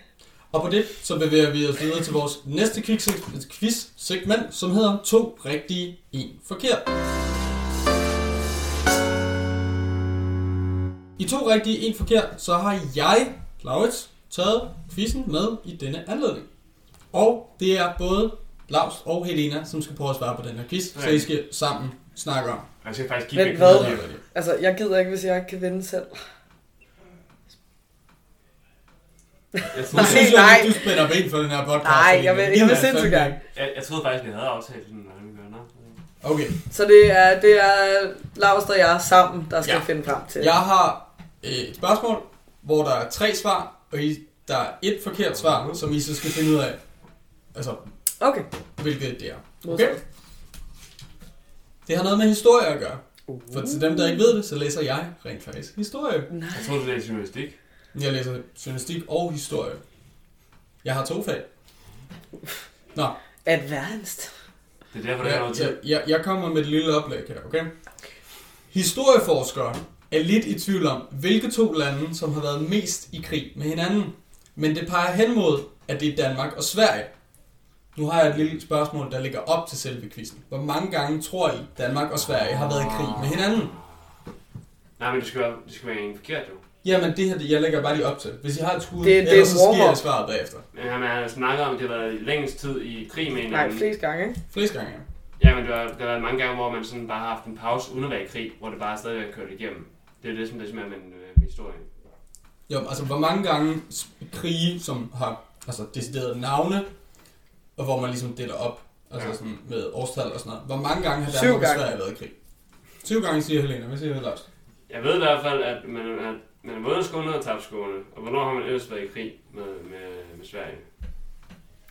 Og på det, så bevæger vi os videre til vores næste quiz- quiz-segment, som hedder To rigtige, en forkert. I to rigtige, en forkert, så har jeg, Laurits, taget quizzen med i denne anledning. Og det er både Lars og Helena, som skal prøve at svare på den her quiz, så I skal sammen snakke om.
Og Jeg skal faktisk
Men
kigge væk.
hvad?
hvad der er rigtigt.
altså jeg gider ikke, hvis jeg ikke kan vinde selv.
Nu
Jeg troede,
Nej.
jeg,
synes jeg, at du spænder ben for den her podcast.
Nej,
Helena.
jeg vil-
Det
jeg vil
er
sindssygt
fandme-
gerne.
jeg, jeg troede faktisk, vi havde aftalt den. når vi gør noget.
Okay,
Så det er, det er Lars og jeg sammen, der skal
Ja.
ja. finde frem til.
Jeg har øh, et spørgsmål, hvor der er tre svar, og I, der er et forkert svar, som I så skal finde ud af, altså,
Okay.
hvilket det er. Okay?
Modtaget.
Det har noget med historie at gøre. For til dem, der ikke ved det, så læser jeg rent faktisk historie.
Jeg troede, du læste journalistik.
Jeg læser journalistik og historie. Jeg har to fag. Nå,
Advanced.
Det er derfor, der
Ja,
er noget
jeg,
til.
jeg, jeg kommer med et lille oplæg her, okay? Historieforskere er lidt i tvivl om, hvilke to lande, som har været mest i krig med hinanden. Men det peger hen mod, at det er Danmark og Sverige. Nu har jeg et lille spørgsmål, der ligger op til selve quizzen. Hvor mange gange tror I, Danmark og Sverige har været i krig med hinanden?
Nej, men det skal være, det skal være en forkert, jo.
Jamen, det her, det- jeg lægger bare lige op til. Hvis I har et skud,
Det- det er
ellers så sker jeg
warm-up.
svaret bagefter.
Men han har snakket om, at det har været i længst tid i krig med
Nej,
hinanden.
flest gange, ikke?
Flest gange.
Ja, men der, der har været mange gange, hvor man sådan bare har haft en pause uden at være i krig, hvor det bare stadig er kørt igennem. Det er jo det, som det simpelthen er med øh, med historien.
Jo, men altså hvor mange gange s- krige, som har altså deciderede navne, og hvor man ligesom deler op, altså
Ja.
sådan med årstal og sådan noget. Hvor mange gange har
Syv
Danmark og
gange.
Sverige været i krig? Syv gange, siger Helena. Hvad siger Lars?
Jeg ved i hvert fald, at man, at man har vundet skåne og tabt skåne, og hvornår har man ellers været i krig med, med, med Sverige?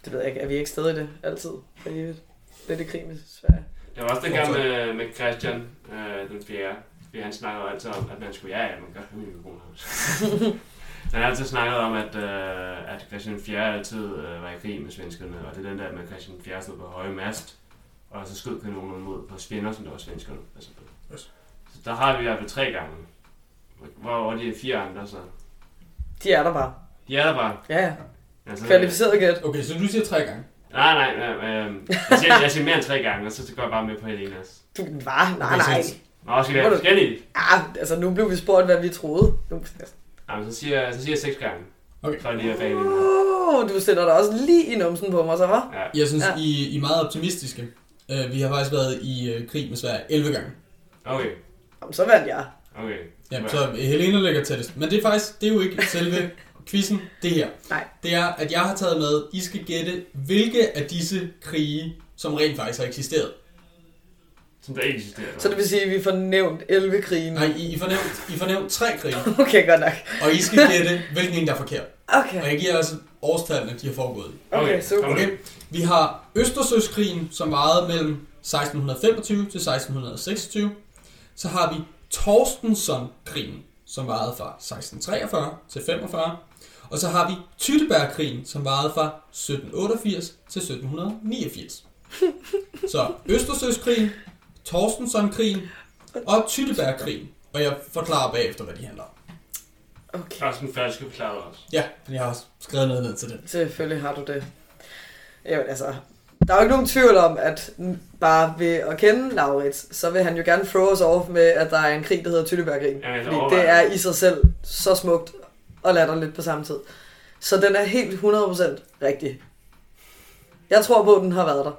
Det ved jeg ikke. Er vi ikke stadig i det? Altid. For evigt. Lidt i krig med Sverige.
Det var også den gang med, med Christian, øh, den fjerde, fordi han snakkede altid om, at man skulle, ja, ja, man gør det med mikrofoner Han har altid snakket om, at, øh, at Christian 4. altid øh, var i krig med svenskerne, og det er den der med at Christian 4. stod på høje mast, og så skød kanonerne mod på svinder, som der var svenskerne. Altså,
Yes.
Så der har vi i hvert fald tre gange. Hvor var de fire andre så?
De er der bare.
De er der bare.
Ja, ja.
Altså,
Kvalificeret gæt.
Okay, så du siger tre gange.
Nej, nej, nej. Øh, jeg, siger, jeg siger mere end tre gange, og så går jeg bare med på Helenas.
Du var, nej,
Okay,
nej.
så-
Nå, skal vi have forskellige?
Ah, altså, nu blev vi spurgt, hvad vi troede. Nu,
Jamen, så siger, jeg- så siger jeg seks gange.
Okay.
For lige at bage lidt.
oh, du stiller dig også lige i numsen på mig, så var?
Ja.
Jeg synes,
Ja.
ja. I, I er meget optimistiske. Øh, vi har faktisk været i øh, krig med Sverige 11 gange.
Okay,
Jamen, så vandt jeg.
okay.
Ja, så øh, Helena ligger tættest. Men det er faktisk, det er jo ikke selve quizzen, det her.
Nej.
Det er, at jeg har taget med, I skal gætte, hvilke af disse krige, som rent faktisk har eksisteret.
Som der ikke eksisterer.
Så det vil sige, at vi får nævnt 11 krigen.
Nej, I, I, får nævnt, I får nævnt tre krige,
Okay, godt nok.
og I skal gætte, hvilken en der er forkert.
Okay,
Og jeg giver altså årstallene, de har foregået i.
okay, super.
kom nu.
Okay? Vi har Østersøskrigen, som varede mellem 1625 til 1626. Så har vi Torstensonkrigen, som varede fra 1643 til 45. Og så har vi Tyttebergkrigen, som varede fra 1788 til 1789. Så Østersøskrigen, Torstensonkrigen og Tyttebergkrigen. Og jeg forklarer bagefter, hvad de handler om.
Okay,
Carsten Fald skal forklare det også.
Ja, men jeg har også skrevet noget ned til det.
selvfølgelig har du det. Jamen, altså, der er jo ikke nogen tvivl om, at n- bare ved at kende Laurits, så vil han jo gerne throw os off med, at der er en krig, der hedder Tyllebærkrigen.
Jamen, jeg
Fordi det
overvejer.
er i sig selv så smukt og latterligt på samme tid. Så den er helt 100% rigtig. Jeg tror på, at den har været der.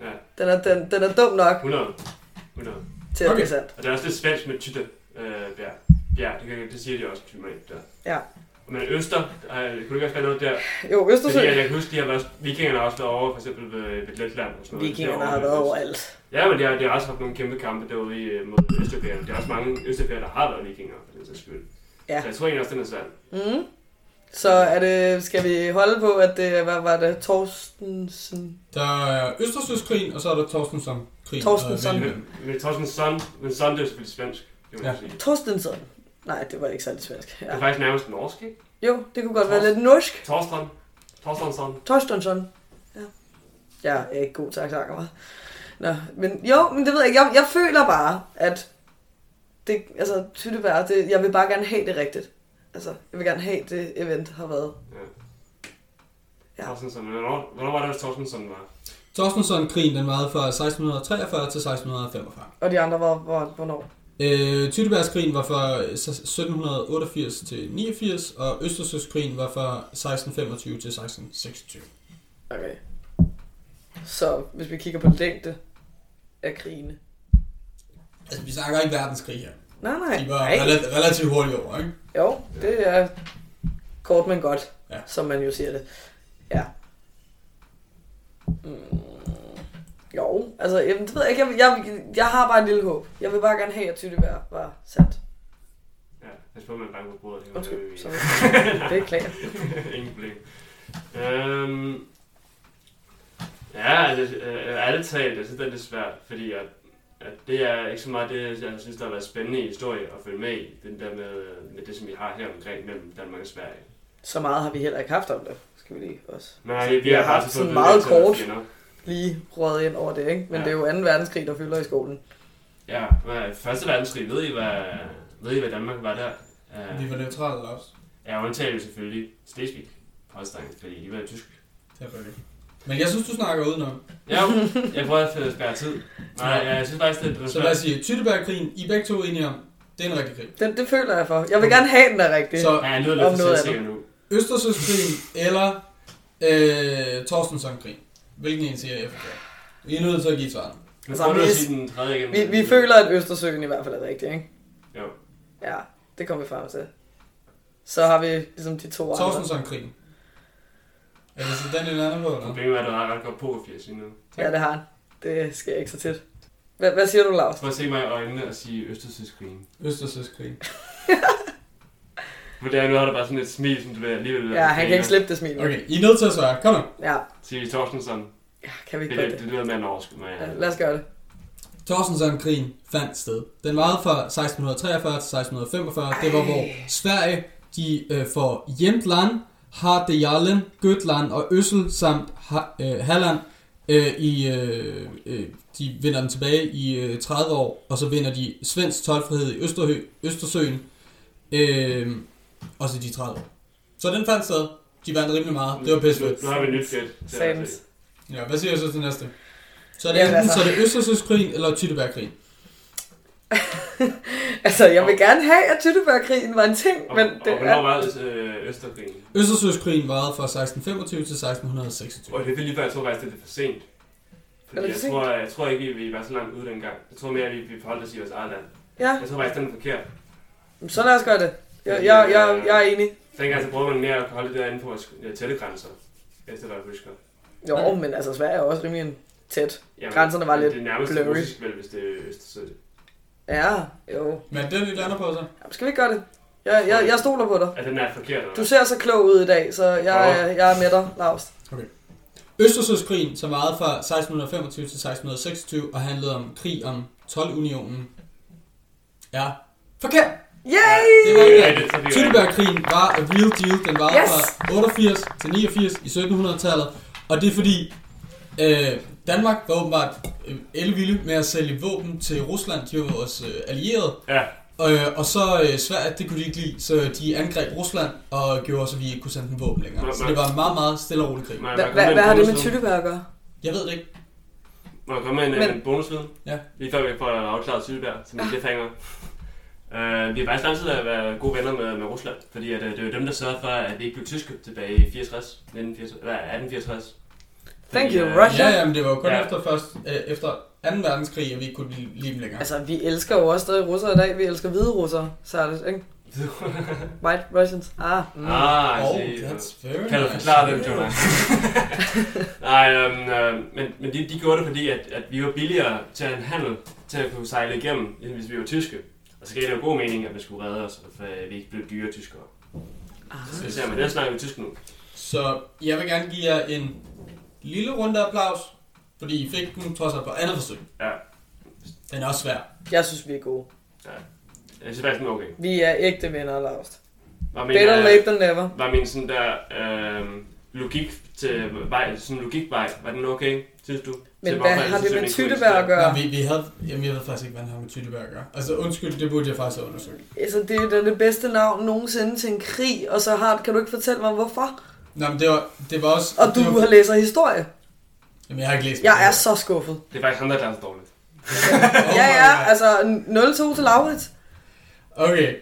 Ja,
Den er, den, den er dum nok
100. 100.
til at okay.
Okay.
det er sandt.
Og det er også lidt svensk med tytte øh, bjerg. Bjerg, det, kan, det siger de også til mig der.
Ja.
Men Øster, øh, kunne du ikke også være noget der?
Jo,
Fordi jeg,
Østersø.
jeg kan huske, de har været, vikingerne har også været over, for eksempel ved, ved Letland og sådan noget.
Vikingerne
Derovre
har
ved
været
Øst.
overalt.
Ja, men de har, de har også haft nogle kæmpe kampe derude i, øh, mod Østerbjergerne. Der er også mange Østerbjerger, der har været vikinger, for den sags skyld.
Ja.
Så jeg tror egentlig også, den er sand.
Mm. Så er det, skal vi holde på, at det, hvad var det, Torstensen?
Der er Østersøskrigen, og så er der Torstensonkrigen.
Torstenson.
Og,
Men, men jeg tror sådan sådan, men sådan det er jo selvfølgelig svensk, kan man
Ja.
ja. sige.
Torstensen? Nej, det var ikke særlig svensk.
Det er
Ja.
faktisk nærmest norsk, ikke?
Jo, det kunne godt være lidt norsk.
Torstrøm. Torstrømsson.
Torstensson. Ja. Jeg er ikke god til at snakke mig. Nå, men jo, men det ved jeg ikke. Jeg, jeg føler bare, at det, altså, tyttebær, det, jeg vil bare gerne have det rigtigt. Altså, jeg vil gerne have det event har været.
Ja.
Ja.
Torstensson, men hvornår, hvornår var det, at Torstensson var?
Torstensson-krigen den varede fra 1643 til 1645.
Og de andre var, var hvornår?
Øh, Tyttebærskrigen var fra 1788 til 89, og Østersøskrigen var fra 1625 til 1626.
Okay. Så hvis vi kigger på længde af krigene.
Altså, vi snakker ikke verdenskrig her.
Nej, nej.
De var
nej.
rela- relativt hurtigt over, ikke?
Jo, det er kort, men godt,
Ja.
ja. som man jo siger det. Ja. Mm, jo, altså, jamen, det ved jeg ikke. Jeg, jeg, jeg har bare en lille håb. Jeg vil bare gerne have, at Tyttebær var sandt.
Ja, jeg spørger, man banker på bordet. det kan man jo
Undskyld,
ikke.
sorry. Det er klart.
Ingen problem. Øhm, ja, altså, øh, ærligt talt, jeg synes, det er lidt svært, fordi at, at det er ikke så meget det, jeg synes, der har været spændende i historie at følge med i, den der med, øh, med det, som vi har her omkring mellem Danmark og Sverige.
Så meget har vi heller ikke haft om det, skal vi lige også
Nej,
Så
vi, vi har,
haft
bare så fået
sådan
ved,
meget
at det er
kort.
fjender.
lige røget ind over det, ikke? Men
Ja.
ja. det er jo 2. verdenskrig, der fylder i skolen.
Ja, hvad- første verdenskrig, ved I, hvad, ved I, hvad Danmark var der?
Vi
Uh,
var neutrale også.
ja, undtagen selvfølgelig Slesvig, Holstein, fordi de var tysk.
Selvfølgelig. Men jeg synes, du snakker udenom.
Ja, jo, jeg prøver at spære tid. Nej, ja, jeg synes faktisk, det er
Så lad os sige, Tyttebærkrigen, I er begge to enige om, det er en rigtig krig. Den...
Den, det føler jeg for. Jeg vil gerne have den er rigtig.
Så
Ja, jeg lyder
Om
lidt for
noget
selvsikker nu.
Østersøskrigen eller øh, Torstensson-krigen. Hvilken en siger jeg forkert? I er nødt til at give svaret.
Nu
Altså,
prøver du
vi-
at sige den tredje igen.
Vi, vi føler, at Østersøen i hvert fald er rigtig, ikke?
Jo.
Ja, det kommer vi frem til. Så har vi ligesom de to andre.
Torstensson-krigen. Er det så den, en anden på, eller?
Problemet er, at du har ret godt på, Fjers, lige nu.
Ja, det har han. Det sker ikke så tit. Hvad, hvad siger du, Lars?
Prøv at se mig i øjnene og sige Østersøskrigen.
Østersøskrigen.
For der nu har du bare sådan et smil, som du vil alligevel...
Ja, han kan ikke slippe det smil.
Okay, I er nødt til at svare. Kom nu.
Ja,
Sige Torstensson.
ja, kan vi
Det,
ikke gøre
det, det
det?
lyder mere end overskud, men...
Ja, lad os gøre det.
Torstensson-krigen fandt sted. Den varede fra 1643 til 1645. Det var, hvor Sverige de øh, får Jämtland, Hardejallen, Götland og Øssel samt ha- øh, Halland. Øh, i, øh, øh, de vinder den tilbage i øh, 30 år, og så vinder de svensk tolvfrihed i Østerhø, Østersøen. Øh, også i de 30 år. Så den fandt sted. De vandt rimelig meget. Det var pisse fedt.
Nu har vi et nyt gæt. Det er
Sadens.
altså-
Ja, hvad siger jeg så til næste? Så er det,
Jamen,
enten,
altså-
så er det Østersøskrigen eller Tyttebærkrigen.
Altså, jeg vil gerne have, at Tyttebærkrigen var en ting,
Og,
men
og
det
hvornår
er...
var øh, Østerkrigen?
Østersøskrigen varede fra 1625 til 1626.
Og det er lige før, jeg tror faktisk, det er lidt for sent.
Er
Fordi
det
jeg
for sent?
tror, jeg tror ikke, vi var så langt ude dengang. Jeg tror mere, at vi, vi forholdt os i vores eget land.
Ja,
Jeg tror faktisk, den er forkert.
så lad os gøre det. Jeg, jeg, jeg, jeg er enig.
Dengang så prøvede man mere at holde det derinde på vores øh, tætte grænser. Efter hvad jeg husker.
Jo,
Okay.
men altså, Sverige er også rimelig en tæt.
Jamen,
Grænserne var
det-
lidt
Det er nærmest
blurry.
russisk, vel, hvis det er Østersø.
Ja, jo.
Men den vi lander på så.
Jamen, skal vi ikke gøre det? Jeg, jeg, jeg stoler på dig.
Altså, den er forkert, eller
Du ser så klog ud i dag, så jeg, jeg er med dig, Lars.
Østersøskrigen, som varede fra 1625 til 1626 og handlede om krig om 12-unionen, er forkert.
Yay!
Det var ikke
Ja,
rigtigt.
det er rigtigt.
Tyttebærkrigen var a real deal. Den varede
Yes!
fra 88 til 89 i 1700-tallet. Og det er fordi, øh, Danmark var åbenbart øh, elvilde med at sælge våben til Rusland. De var vores øh, allierede.
Ja,
Øh, og så øh, Sverige, det kunne de ikke lide, så de angreb Rusland og gjorde, så vi ikke kunne sende dem våben længere.
Men-
Så
men-
det var en meget, meget stille og rolig krig.
man,
Hva- hva- Hvad har det med Tyttebær at gøre?
Jeg ved det ikke.
Må jeg komme med en,
Men-
Men... en bonusviden?
Ja.
Lige før vi får afklaret Sydberg, som en cliffhanger. Uh, vi har faktisk lang tid at være gode venner med, med Rusland, fordi at, uh, det var dem, der sørgede for, at vi ikke blev tyske tilbage i 64, 1964, eller 1864.
Thank
Fordi,
you,
øh,
Russia.
Ja, ja, men det var jo kun
Ja.
ja. efter, først, øh, efter 2. verdenskrig, at vi ikke kunne lide lide dem længere.
Altså, vi elsker jo også stadig russere i dag. Vi elsker hvide russere, særligt, ikke? White Russians. Ah, mm.
ah, I
oh,
see.
that's very
Kan du
nice.
forklare dem, Jonas? Nej, øhm, øhm, men, men de, de gjorde det, fordi at, at vi var billigere til en handel, til at kunne sejle igennem, end hvis vi var tyske. Og så gav det jo god mening, at man skulle redde os, for at vi ikke blev dyre tyskere. Så det ser man, den snakker vi tysk nu.
Så jeg vil gerne give jer en lille runde applaus, fordi I fik den trods alt på andet forsøg.
Ja.
Den er også svær.
Jeg synes, vi er gode.
Jeg synes faktisk, den er okay.
Vi er ægte venner, Lars.
Var
Better
øh,
late than never.
var min sådan der øhm, logik til vej, sådan logikvej, var den okay?
synes du?
Men
Til
hvad
hvorfor
har det med
Elsystemet ikke kunne
tyttebær at
eksistere?
gøre?
Nej, vi, vi havde, jamen, jeg ved faktisk ikke, hvad han har med Tyttebær at gøre. Altså, undskyld, det burde jeg faktisk have undersøgt.
Altså, det er da det bedste navn nogensinde til en krig, og så har, kan du ikke fortælle mig, hvorfor?
Nå, men det var, det var også...
Og
det
du
var,
har læser historie.
Jamen, jeg har ikke læst
Jeg er
det.
så skuffet.
Det er faktisk ham, der er dårligt.
Oh
Ja,
my
ja,
God.
altså 0-2 til Laurits.
Okay.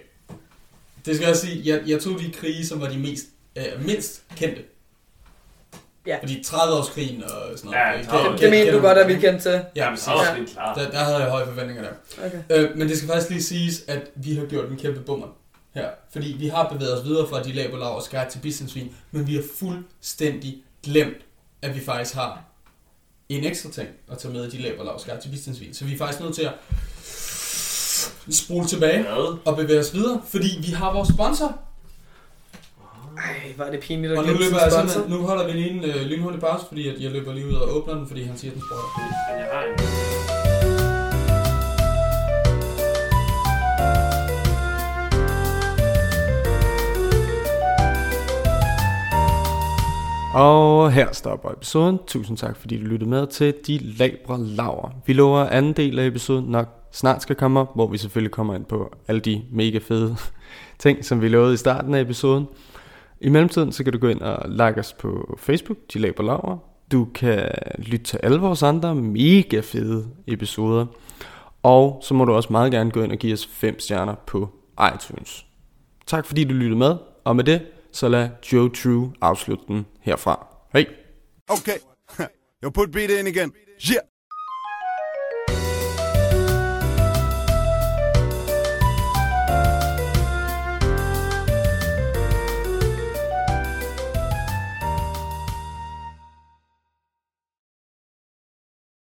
Det skal jeg også sige, jeg, jeg tog de krige, som var de mest, øh, mindst kendte.
Ja.
Fordi 30-årskrigen og sådan noget.
Ja,
øh,
30-årskrigen.
kan-
Det
kan-
mente
kan
du godt, at vi kendte til.
Ja,
men
præcis.
så er det klart.
Der, der havde jeg høje forventninger der.
Okay.
Øh, men det skal faktisk lige siges, at vi har gjort en kæmpe bummer her. Fordi vi har bevæget os videre fra de laberlag og skær til bistandsvin, men vi har fuldstændig glemt, at vi faktisk har en ekstra ting at tage med i de laberlag og skær til bistandsvin. Så vi er faktisk nødt til at spole tilbage
Hvad?
og bevæge os videre, fordi vi har vores sponsor.
Ej, var det pinligt at
Og nu,
gemme
løber
sin
jeg
sponsor.
simpelthen, nu holder vi lige en øh, lynhurtig pause, fordi at jeg løber lige ud og åbner den, fordi han siger, at den sprøjter.
Men jeg har en.
Og her stopper episoden. Tusind tak, fordi du lyttede med til De Labre Laver. Vi lover, at anden del af episoden nok snart skal komme op, hvor vi selvfølgelig kommer ind på alle de mega fede ting, som vi lovede i starten af episoden. I mellemtiden, så kan du gå ind og like os på Facebook, De Labre Laver. Du kan lytte til alle vores andre mega fede episoder. Og så må du også meget gerne gå ind og give os 5 stjerner på iTunes. Tak fordi du lyttede med, og med det, så lad Joe True afslutte den herfra. Hej!
Okay. Yo, put beat in again. Yeah.